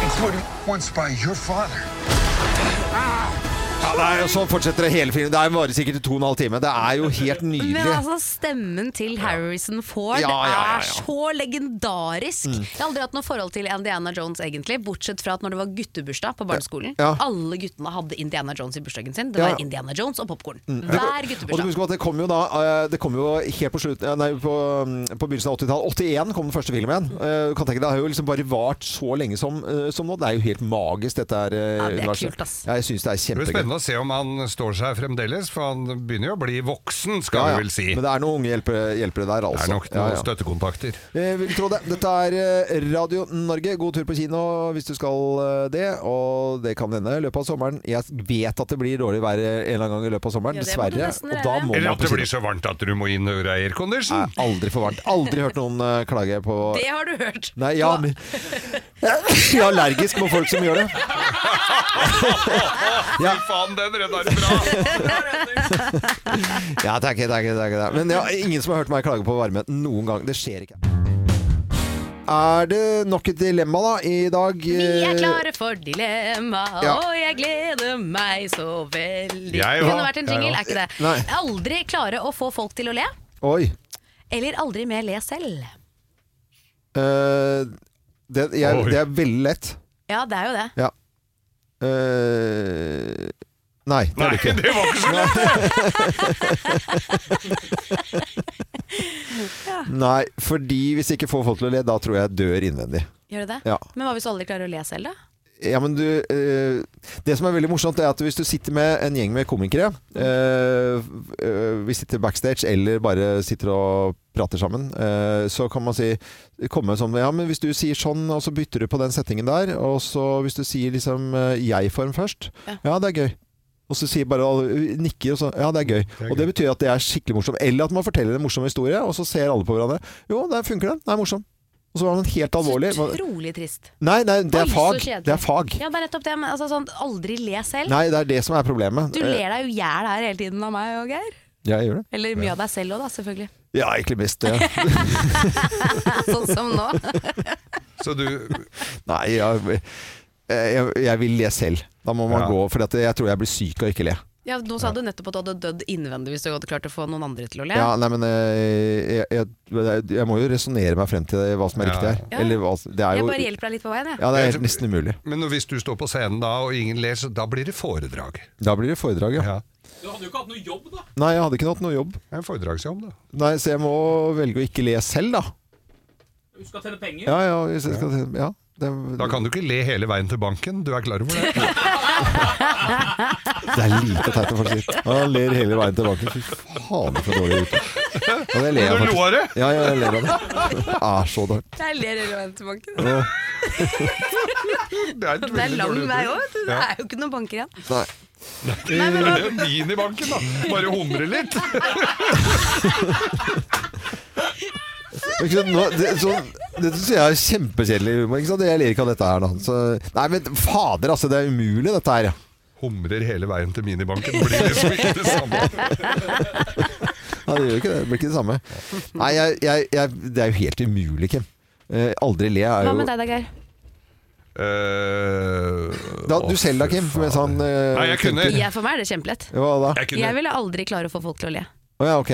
Speaker 14: including once by your father.
Speaker 2: Ja, det er jo Sånn fortsetter det hele filmen. Det er varer sikkert i to og en halv time. Det er jo helt
Speaker 7: Men
Speaker 2: nydelig.
Speaker 7: altså, stemmen til Harrison Ford
Speaker 2: Ja, ja, ja, ja.
Speaker 7: er så legendarisk.
Speaker 2: Mm.
Speaker 7: Jeg har aldri hatt noe forhold til Indiana Jones, egentlig, bortsett fra at når det var guttebursdag på barneskolen.
Speaker 2: Ja.
Speaker 7: Alle guttene hadde Indiana Jones i bursdagen sin. Det
Speaker 2: Ja.
Speaker 7: var Indiana Jones og popkorn.
Speaker 2: Mm.
Speaker 7: Hver
Speaker 2: Og du
Speaker 7: guttebursdag.
Speaker 2: husker på at det kom jo da eh, Det kom jo helt på slutt eh, Nei, på, mm, på begynnelsen av 80-tallet 81 kom den første filmen Eh, Du kan tenke deg, Det har jo liksom bare vart så lenge som, eh, som nå Det er jo helt magisk dette her eh,
Speaker 4: Ja, det er
Speaker 2: universet.
Speaker 4: kult, ass.
Speaker 2: Ja, jeg synes det er
Speaker 4: Det blir
Speaker 2: kjempegøy
Speaker 4: spennende å se om han står seg fremdeles, for han begynner jo å bli voksen,
Speaker 2: Ja,
Speaker 4: skal
Speaker 2: ja.
Speaker 4: vi vel si.
Speaker 2: Men det er noen unge hjelpere, hjelpere der
Speaker 4: Det
Speaker 2: altså
Speaker 4: er nok
Speaker 2: Ja,
Speaker 4: noen
Speaker 2: ja.
Speaker 4: støttekontakter.
Speaker 2: Jeg vil tro det. Eh, Dette er eh, Radio Norge. God tur på kino hvis du skal eh, det. Og det kan hende i løpet av sommeren. Jeg vet at det blir dårlig vær eh, en eller annen gang i løpet av sommeren,
Speaker 4: Ja, det må du
Speaker 2: dessverre.
Speaker 4: nesten
Speaker 2: Og da må
Speaker 4: Eller
Speaker 2: man
Speaker 4: at
Speaker 2: på
Speaker 4: det blir
Speaker 2: kino.
Speaker 4: så varmt at du må inn og gjøre aircondition.
Speaker 2: Aldri for varmt. Aldri hørt noen eh, klage på
Speaker 5: Det har du hørt.
Speaker 2: Nei, ja, men Jeg er allergisk mot folk som gjør det.
Speaker 4: Fy faen, den redder bra!
Speaker 2: Ja, takk, takk, takk, takk. Men det er ingen som har hørt meg klage på varme noen gang. Det skjer ikke. Er det nok et dilemma da i dag? eh,
Speaker 7: Vi er klare for dilemma,
Speaker 2: Ja.
Speaker 7: og jeg gleder meg så veldig.
Speaker 2: Jeg
Speaker 7: det
Speaker 2: òg.
Speaker 7: kunne vært en jingle,
Speaker 2: Jeg òg.
Speaker 7: er ikke det?
Speaker 2: Nei.
Speaker 7: Aldri klare å få folk til å le,
Speaker 2: Oi.
Speaker 7: eller aldri mer le selv.
Speaker 2: Eh, det, jeg,
Speaker 7: Oi.
Speaker 2: det er veldig lett.
Speaker 7: Ja, det er jo det.
Speaker 2: Ja. Eh, nei, det er det ikke.
Speaker 4: Nei, det var ikke så
Speaker 2: lett! nei, fordi hvis jeg ikke får folk til å le, da tror jeg jeg dør innvendig.
Speaker 7: Gjør det det?
Speaker 2: Ja.
Speaker 7: Men hva hvis alle klarer å le selv, da?
Speaker 2: Ja, men du, eh, det som er veldig morsomt er at hvis du sitter med en gjeng med komikere eh, eh, Vi sitter backstage eller bare sitter og prater sammen eh, Så kan man si komme sånn, ja, men Hvis du sier sånn, og så bytter du på den settingen der Og så hvis du sier liksom eh, jeg-form først Ja, det er gøy Og så sier bare alle- nikker og sånn Ja, det er gøy. Og det betyr at det er skikkelig morsomt. Eller at man forteller en morsom historie, og så ser alle på hverandre. Jo, der funker den. Den er morsom. Og så var den helt alvorlig.
Speaker 5: Utrolig trist.
Speaker 2: Nei, nei, det
Speaker 5: Oi,
Speaker 2: er
Speaker 5: så
Speaker 2: fag.
Speaker 5: kjedelig.
Speaker 2: Det er fag.
Speaker 5: Ja, det er nettopp det. Men altså, sånn, aldri le selv.
Speaker 2: Nei, det er det som er problemet.
Speaker 4: Eh.
Speaker 5: Du ler deg jo i hjel her hele tiden av meg og Geir.
Speaker 2: Jeg gjør det.
Speaker 5: Eller mye av deg selv òg, da, selvfølgelig.
Speaker 2: Ja, egentlig mest det.
Speaker 5: sånn som nå.
Speaker 4: Så du
Speaker 2: Nei, jeg, jeg, jeg vil le selv. Da må man gå, for at jeg tror jeg blir syk av ikke le.
Speaker 5: Ja, nå sa du nettopp at du hadde dødd innvendig hvis du hadde klart å få noen andre til å le.
Speaker 2: Ja, nei, men eh, jeg, jeg, jeg, jeg må jo resonnere meg frem til hva som er riktig her.
Speaker 5: Ja.
Speaker 2: Eller hva, det er
Speaker 5: jeg
Speaker 2: jo,
Speaker 5: bare hjelper deg litt på veien, jeg.
Speaker 2: ja, det er helt nesten umulig.
Speaker 4: Men når- hvis du står på scenen da, og ingen ler, så da blir det foredrag.
Speaker 2: Da blir det foredrag, ja.
Speaker 4: Du hadde jo ikke hatt noe jobb, da.
Speaker 2: Nei, jeg hadde ikke hatt noe jobb.
Speaker 4: En foredragsjobb, da.
Speaker 2: Nei, Så jeg må velge å ikke le selv, da.
Speaker 4: Du skal tjene penger.
Speaker 2: Ja, ja, hvis jeg skal tjene- ja. Det,
Speaker 4: Da kan du ikke le hele veien til banken, du er klar over det?
Speaker 2: det er lite teit å faktisk si. Han ler hele veien tilbake. Fy faen, for dårlig ute. Ja, det ler jeg
Speaker 4: Men du lo av det?
Speaker 2: Ja, ja, jeg ler av det. Det er så dårlig.
Speaker 5: Jeg ler hele veien til banken.
Speaker 2: Ja.
Speaker 4: Det er,
Speaker 5: Det er lang vei òg, det er jo ikke noen banker igjen.
Speaker 2: Nei.
Speaker 4: Nei, men da- Vin i banken, da. Bare humre litt.
Speaker 2: Men Ikke sant, nå, det, så, dette synes jeg er kjempekjedelig humor. Ikke sant? Jeg ler ikke av dette her nå. Så, nei, men fader, altså. Det er umulig, dette her.
Speaker 4: Humrer hele veien til minibanken. Blir liksom ikke det samme.
Speaker 2: Ja, det gjør ikke det. Det blir ikke det samme. Nei, jeg, jeg, jeg, det er jo helt umulig, Kim. Eh, aldri le er jo
Speaker 3: Hva med deg da, Geir?
Speaker 4: Eh,
Speaker 2: da, Du selv da, Kim? Mens han eh,
Speaker 4: Nei, jeg kunne-
Speaker 2: tenker.
Speaker 5: Jeg, for meg er det kjempelett.
Speaker 2: Hva da?
Speaker 5: Jeg ville aldri klare å få folk til å le.
Speaker 2: Å ja, ok.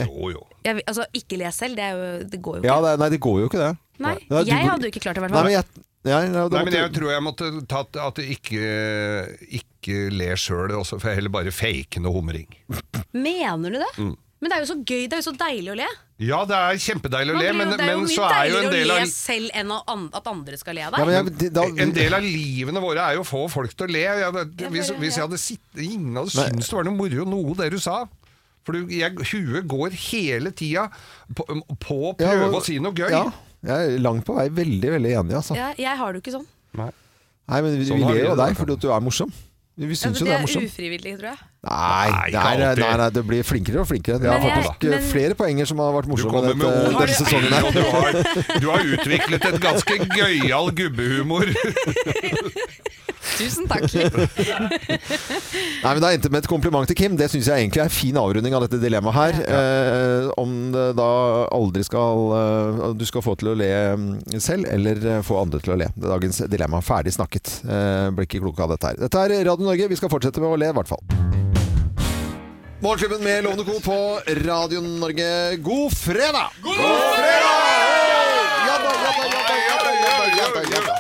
Speaker 5: Jeg, vil- altså, ikke le selv, det, er jo, det går jo ikke.
Speaker 2: Ja, det, nei, det går jo ikke, det.
Speaker 5: Nei,
Speaker 2: Nei, du
Speaker 5: jeg
Speaker 2: burde-
Speaker 5: hadde jo ikke klart det, i hvert
Speaker 2: Nei, men
Speaker 5: fall.
Speaker 2: jeg, nei, nei, da
Speaker 4: Nei, men
Speaker 2: måtte-
Speaker 4: jeg tror jeg måtte tatt at det ikke, ikke ler sjøl, og så får jeg heller bare fake noe humring.
Speaker 5: Mener du det?
Speaker 4: Mm.
Speaker 5: Men det er jo så gøy, det er jo så deilig å le.
Speaker 4: Ja, det er kjempedeilig å le,
Speaker 5: Man blir
Speaker 4: men,
Speaker 5: jo- det er jo
Speaker 4: men
Speaker 5: mye
Speaker 4: så er jo en del
Speaker 5: deiligere å
Speaker 4: av
Speaker 5: le selv enn å an- at andre skal le av deg.
Speaker 4: Ja, men en del av livene våre er jo å få folk til å le. Jeg, hvis, hvis jeg hadde sittet Ingen hadde
Speaker 2: Nei.
Speaker 4: syntes det var noe moro noe det du sa. For du, jeg, huet går hele tida på, på å
Speaker 2: Ja,
Speaker 4: prøve
Speaker 2: men-
Speaker 4: å si noe gøy.
Speaker 2: Ja, jeg er langt på vei veldig, veldig enig, altså.
Speaker 5: Ja, jeg har det jo ikke sånn.
Speaker 2: Nei, men vi,
Speaker 4: Sånn
Speaker 2: vi
Speaker 4: har vi
Speaker 2: ler jo
Speaker 4: det,
Speaker 2: av
Speaker 4: da,
Speaker 2: deg fordi at du er morsom. Vi
Speaker 5: Ja, men
Speaker 2: syns jo
Speaker 5: det
Speaker 2: det er
Speaker 5: er
Speaker 2: morsom.
Speaker 5: ufrivillig, tror jeg.
Speaker 2: Nei,
Speaker 4: Nei,
Speaker 2: nei,
Speaker 4: ikke
Speaker 2: nei,
Speaker 4: alltid.
Speaker 2: nei, nei, det blir flinkere og flinkere. Det er
Speaker 4: Men jeg-
Speaker 2: faktisk eh,
Speaker 4: men-
Speaker 2: flere poenger som har vært morsomme
Speaker 4: kommer med
Speaker 2: dette,
Speaker 4: ord.
Speaker 2: denne sesongen
Speaker 4: Og du har,
Speaker 2: her.
Speaker 4: du har utviklet et ganske gøyal gubbehumor.
Speaker 5: Tusen takk.
Speaker 2: Nei, men Da endte det med et kompliment til Kim. Det syns jeg egentlig er en fin avrunding av dette dilemmaet her. Eh, om det da aldri skal eh, Du skal få til å le mm, selv, eller eh, få andre til å le. Det er dagens dilemma. Ferdig snakket. Eh, blir ikke klok av dette her. Dette er Radio Norge. Vi skal fortsette med å le, i hvert fall. Morgenklubben med Lovende Co på Radio Norge. God fredag! God fredag! Jabba, jabba, jabba, jabba, jabba, jabba, jabba.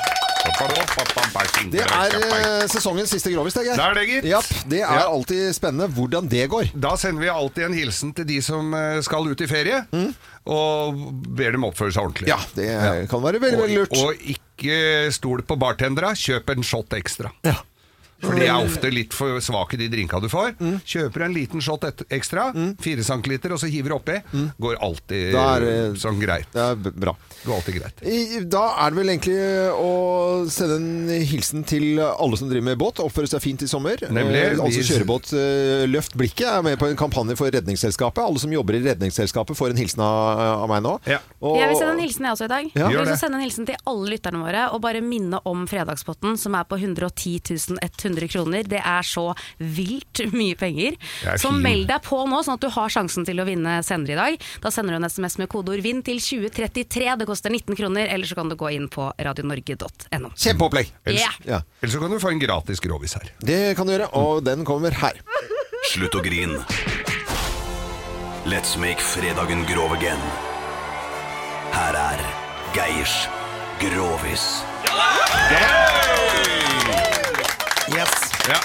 Speaker 2: Det er eh, sesongens siste Grovis, det, Geir.
Speaker 4: Det er det, gitt.
Speaker 2: Japp, det er alltid spennende hvordan det går.
Speaker 4: Da sender vi alltid en hilsen til de som eh, skal ut i ferie, og ber dem oppføre seg ordentlig.
Speaker 2: Ja, det kan være veldig, veldig lurt.
Speaker 4: Og, og ikke stol på bartendere, kjøp en shot ekstra. For de er ofte litt for svake, de drinka du får. Kjøper en liten shot et- ekstra, fire centiliter, og så hiver du oppi. Går alltid
Speaker 2: Da er det-
Speaker 4: sånn greit.
Speaker 2: Det er bra.
Speaker 4: Går alltid greit.
Speaker 2: I, da er det vel egentlig å sende en hilsen til alle som driver med båt. Oppføre seg fint i sommer.
Speaker 4: Nemlig.
Speaker 2: Eh, altså
Speaker 4: Vi-
Speaker 2: kjørebåt eh, Løft blikket er med på en kampanje for Redningsselskapet. Alle som jobber i Redningsselskapet får en hilsen av, av meg nå. Og-
Speaker 3: Jeg vil sende en hilsen jeg også i dag.
Speaker 2: Ja.
Speaker 3: jeg vil
Speaker 2: Gjør det.
Speaker 3: også sende en hilsen til alle lytterne våre og bare minne om fredagspotten som er på 110 100 kroner. Det er så vilt mye penger.
Speaker 5: er
Speaker 3: Så
Speaker 5: fin.
Speaker 3: meld deg på nå, sånn at du har sjansen til å vinne senere i dag. Da sender du en SMS med kodeord 'vinn' til 2033. Det koster 19 kroner, eller så kan du gå inn på radionorge.no.
Speaker 2: Kjempeopplegg!
Speaker 3: Ja.
Speaker 2: Ja.
Speaker 4: Eller så kan du få en gratis grovis her.
Speaker 2: Det kan du gjøre, og den kommer her.
Speaker 18: Slutt å grin. Let's make fredagen grov again. Her er Geirs Grovis.
Speaker 2: Yes.
Speaker 4: Ja.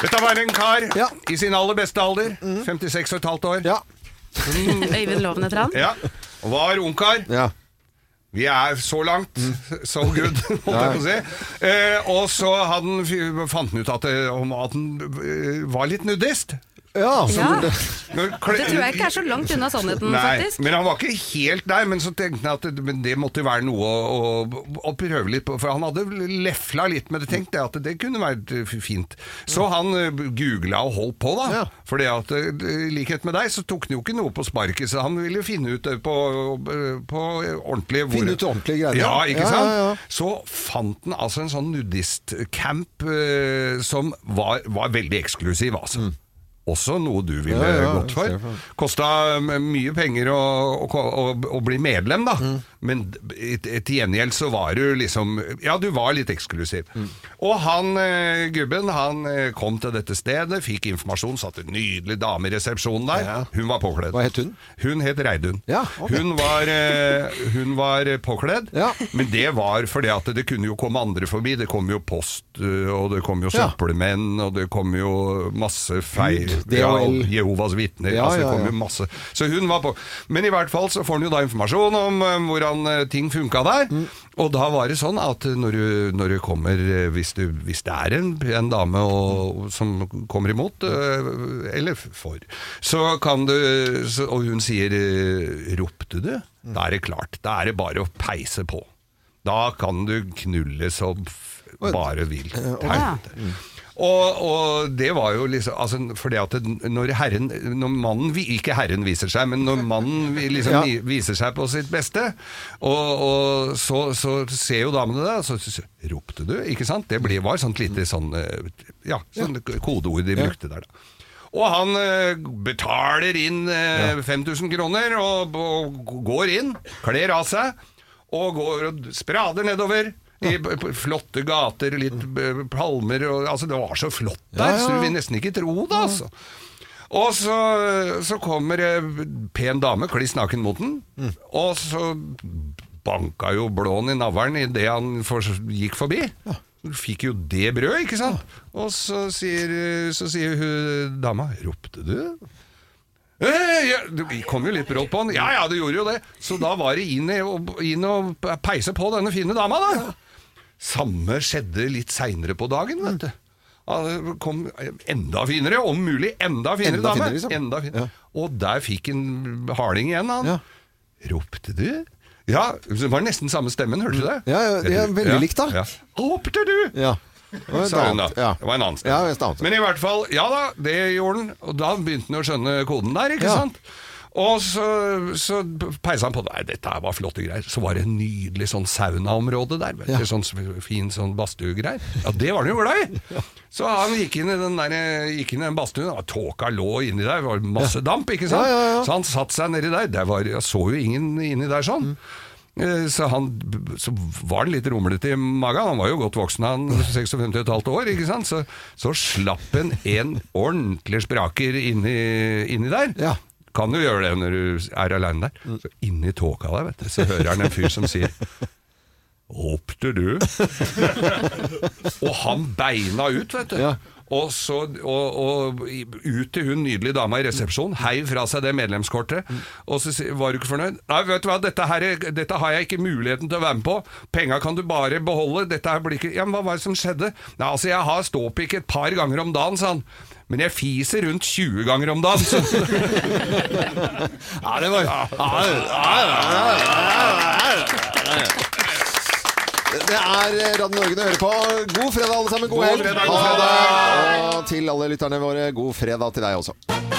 Speaker 4: Dette var en kar i sin aller beste alder, 56 og et halvt år.
Speaker 5: Mm,
Speaker 3: Øyvind Lovne Tran.
Speaker 4: Ja. Og Var ungkar. Vi er så langt, so good, holdt jeg på å si. Eh, og så hadde han, fy- fant han ut at, eh, om at han eh, var litt nudist.
Speaker 2: Ja, så
Speaker 5: Ja.
Speaker 2: burde-
Speaker 4: Når kle-
Speaker 5: Det tror jeg ikke er så langt unna sannheten,
Speaker 4: Nei,
Speaker 5: faktisk.
Speaker 4: Men han var ikke helt der, men så tenkte jeg at det, men det måtte jo være noe å, å, å prøve litt på. For han hadde lefla litt, men jeg tenkte at det kunne vært eh, fint. Så han eh, googla og holdt på, da. For i likhet med deg, så tok han jo ikke noe på sparket. Så han ville jo finne ut eh, på, eh, på ordentlig hvor-
Speaker 2: Finne ut ordentlige greier,
Speaker 4: Ja,
Speaker 2: ja.
Speaker 4: ikke
Speaker 2: Ja,
Speaker 4: sant?
Speaker 2: ja, ja.
Speaker 4: Så fant han altså en sånn nudistcamp eh, som var, var veldig eksklusiv, altså. Også noe du ville
Speaker 2: Mm. Ja, ja,
Speaker 4: gått
Speaker 2: jeg ser
Speaker 4: for.
Speaker 2: for
Speaker 4: Kosta eh, mye penger å, å, å, å bli medlem, da.
Speaker 2: Mm.
Speaker 4: Men d- i- til gjengjeld så var du liksom Ja, du var litt eksklusiv.
Speaker 2: Mm.
Speaker 4: Og han eh, gubben, han eh, kom til dette stedet, fikk informasjon, satt en nydelig dame i resepsjonen der. Hun var påkledd. Hva het hun? Hun het Reidun. Hun var, eh, hun var eh, påkledd, men det var fordi at det kunne jo komme andre forbi. Det kom jo post, eh, og det kom jo
Speaker 2: Ja.
Speaker 4: søppelmenn, og det kom jo masse feil.
Speaker 2: Gud,
Speaker 4: Ja,
Speaker 2: DHL.
Speaker 4: Jehovas vitner.
Speaker 2: Ja,
Speaker 4: altså, det
Speaker 2: ja,
Speaker 4: kom
Speaker 2: ja.
Speaker 4: jo masse. Så hun var på. Men i hvert fall så får hun jo da informasjon om eh, hvordan eh, ting funka der.
Speaker 2: Mm.
Speaker 4: Og da var det sånn at når du, når du kommer, eh, hvis, du, hvis det er en, en dame og, som kommer imot, eh, eller for, så kan du så, Og hun sier eh, 'ropte du?'
Speaker 2: Mm.
Speaker 4: Da er det klart. Da er det bare å peise på. Da kan du knulle som f- bare vil.
Speaker 2: Ja.
Speaker 4: Og, og det var jo liksom altså, Fordi at det- når herren Når mannen, vi- ikke herren viser seg Men når mannen vi- liksom
Speaker 2: Ja.
Speaker 4: vi- viser seg på sitt beste Og, og så, så ser jo damene det og Så så ropte du, ikke sant? Det ble, var sånt lite sånn eh, Ja, sånn kodeord de
Speaker 2: Ja.
Speaker 4: brukte der da og han eh, betaler inn eh, 5000 kroner og, og går inn, kler av seg og går og sprader nedover i b- b- flotte gater, litt b- palmer og, Altså, det var så flott der,
Speaker 2: Ja, ja,
Speaker 4: så du
Speaker 2: ja.
Speaker 4: vil nesten ikke tro det, altså. Og så, så kommer en pen dame, kliss naken mot den, og så banka jo blåen i navlen idet han for, gikk forbi. Fikk jo det brødet, ikke sant? Og så sier, så sier hun dama 'Ropte du?' Eh, ja, du vi kom jo litt brått på han. Ja, ja, du gjorde jo det. Så da var det inn, i- og- inn og peise på denne fine dama, da. Samme skjedde litt seinere på dagen, vet du. Ja, det kom enda finere, om mulig enda finere
Speaker 2: Enda
Speaker 4: dame.
Speaker 2: finere, liksom.
Speaker 4: Enda fin- Og der fikk en harding igjen, han. Ropte du? Ja, det var nesten samme stemmen, hørte du det?
Speaker 2: Ja, ja, ja, veldig likt, da.
Speaker 4: Ja. Ropte du?
Speaker 2: Ja. var et
Speaker 4: Sa hun da.
Speaker 2: annet, ja.
Speaker 4: Det var en annen sted.
Speaker 2: Ja, et annet.
Speaker 4: Men i hvert fall, ja da, det gjorde han. Og da begynte han å skjønne koden der, ikke
Speaker 2: Ja.
Speaker 4: sant? Og så, så peisa han på. Nei, dette her var flotte greier. Så var det en nydelig sånn saunaområde der. Vet du, Sånn s- fin sånn badstuegreier. Ja, det var han jo glad i! Så han gikk inn i den der, gikk inn i den badstuen, og tåka lå inni der, det var masse damp, ikke sant?
Speaker 2: Ja, ja, ja.
Speaker 4: Så han satte seg nedi der. Der var, jeg så jo ingen inni der sånn.
Speaker 2: Mm.
Speaker 4: Eh, Så, han, så var han litt rumlete i magen. Han var jo godt voksen, han 56,5 år. ikke sant? Så, så slapp han en ordentlig spraker inni, inni der. Kan jo gjøre det når du er aleine der. Så inni tåka der, vet du, så hører han en fyr som sier Ropte du? og han beina ut, vet du. Og, så, og, og i- ut til hun nydelige dama i resepsjonen, heiv fra seg det medlemskortet. Og så sier- var du ikke fornøyd. Nei, vet du hva, dette, her, er- dette har jeg ikke muligheten til å være med på. Penga kan du bare beholde. Dette her blir ikke Ja, men hva var det som skjedde? Nei, altså, jeg har ståpikk et par ganger om dagen, sa han. Men jeg fiser rundt 20 ganger om dagen. Så. ja, det var
Speaker 2: Det er eh, Radio Norge du hører på. God fredag, alle sammen. God
Speaker 4: God
Speaker 2: helg.
Speaker 4: fredag, god
Speaker 2: Ha
Speaker 4: fredag.
Speaker 2: det. Og til alle lytterne våre, god fredag til deg også.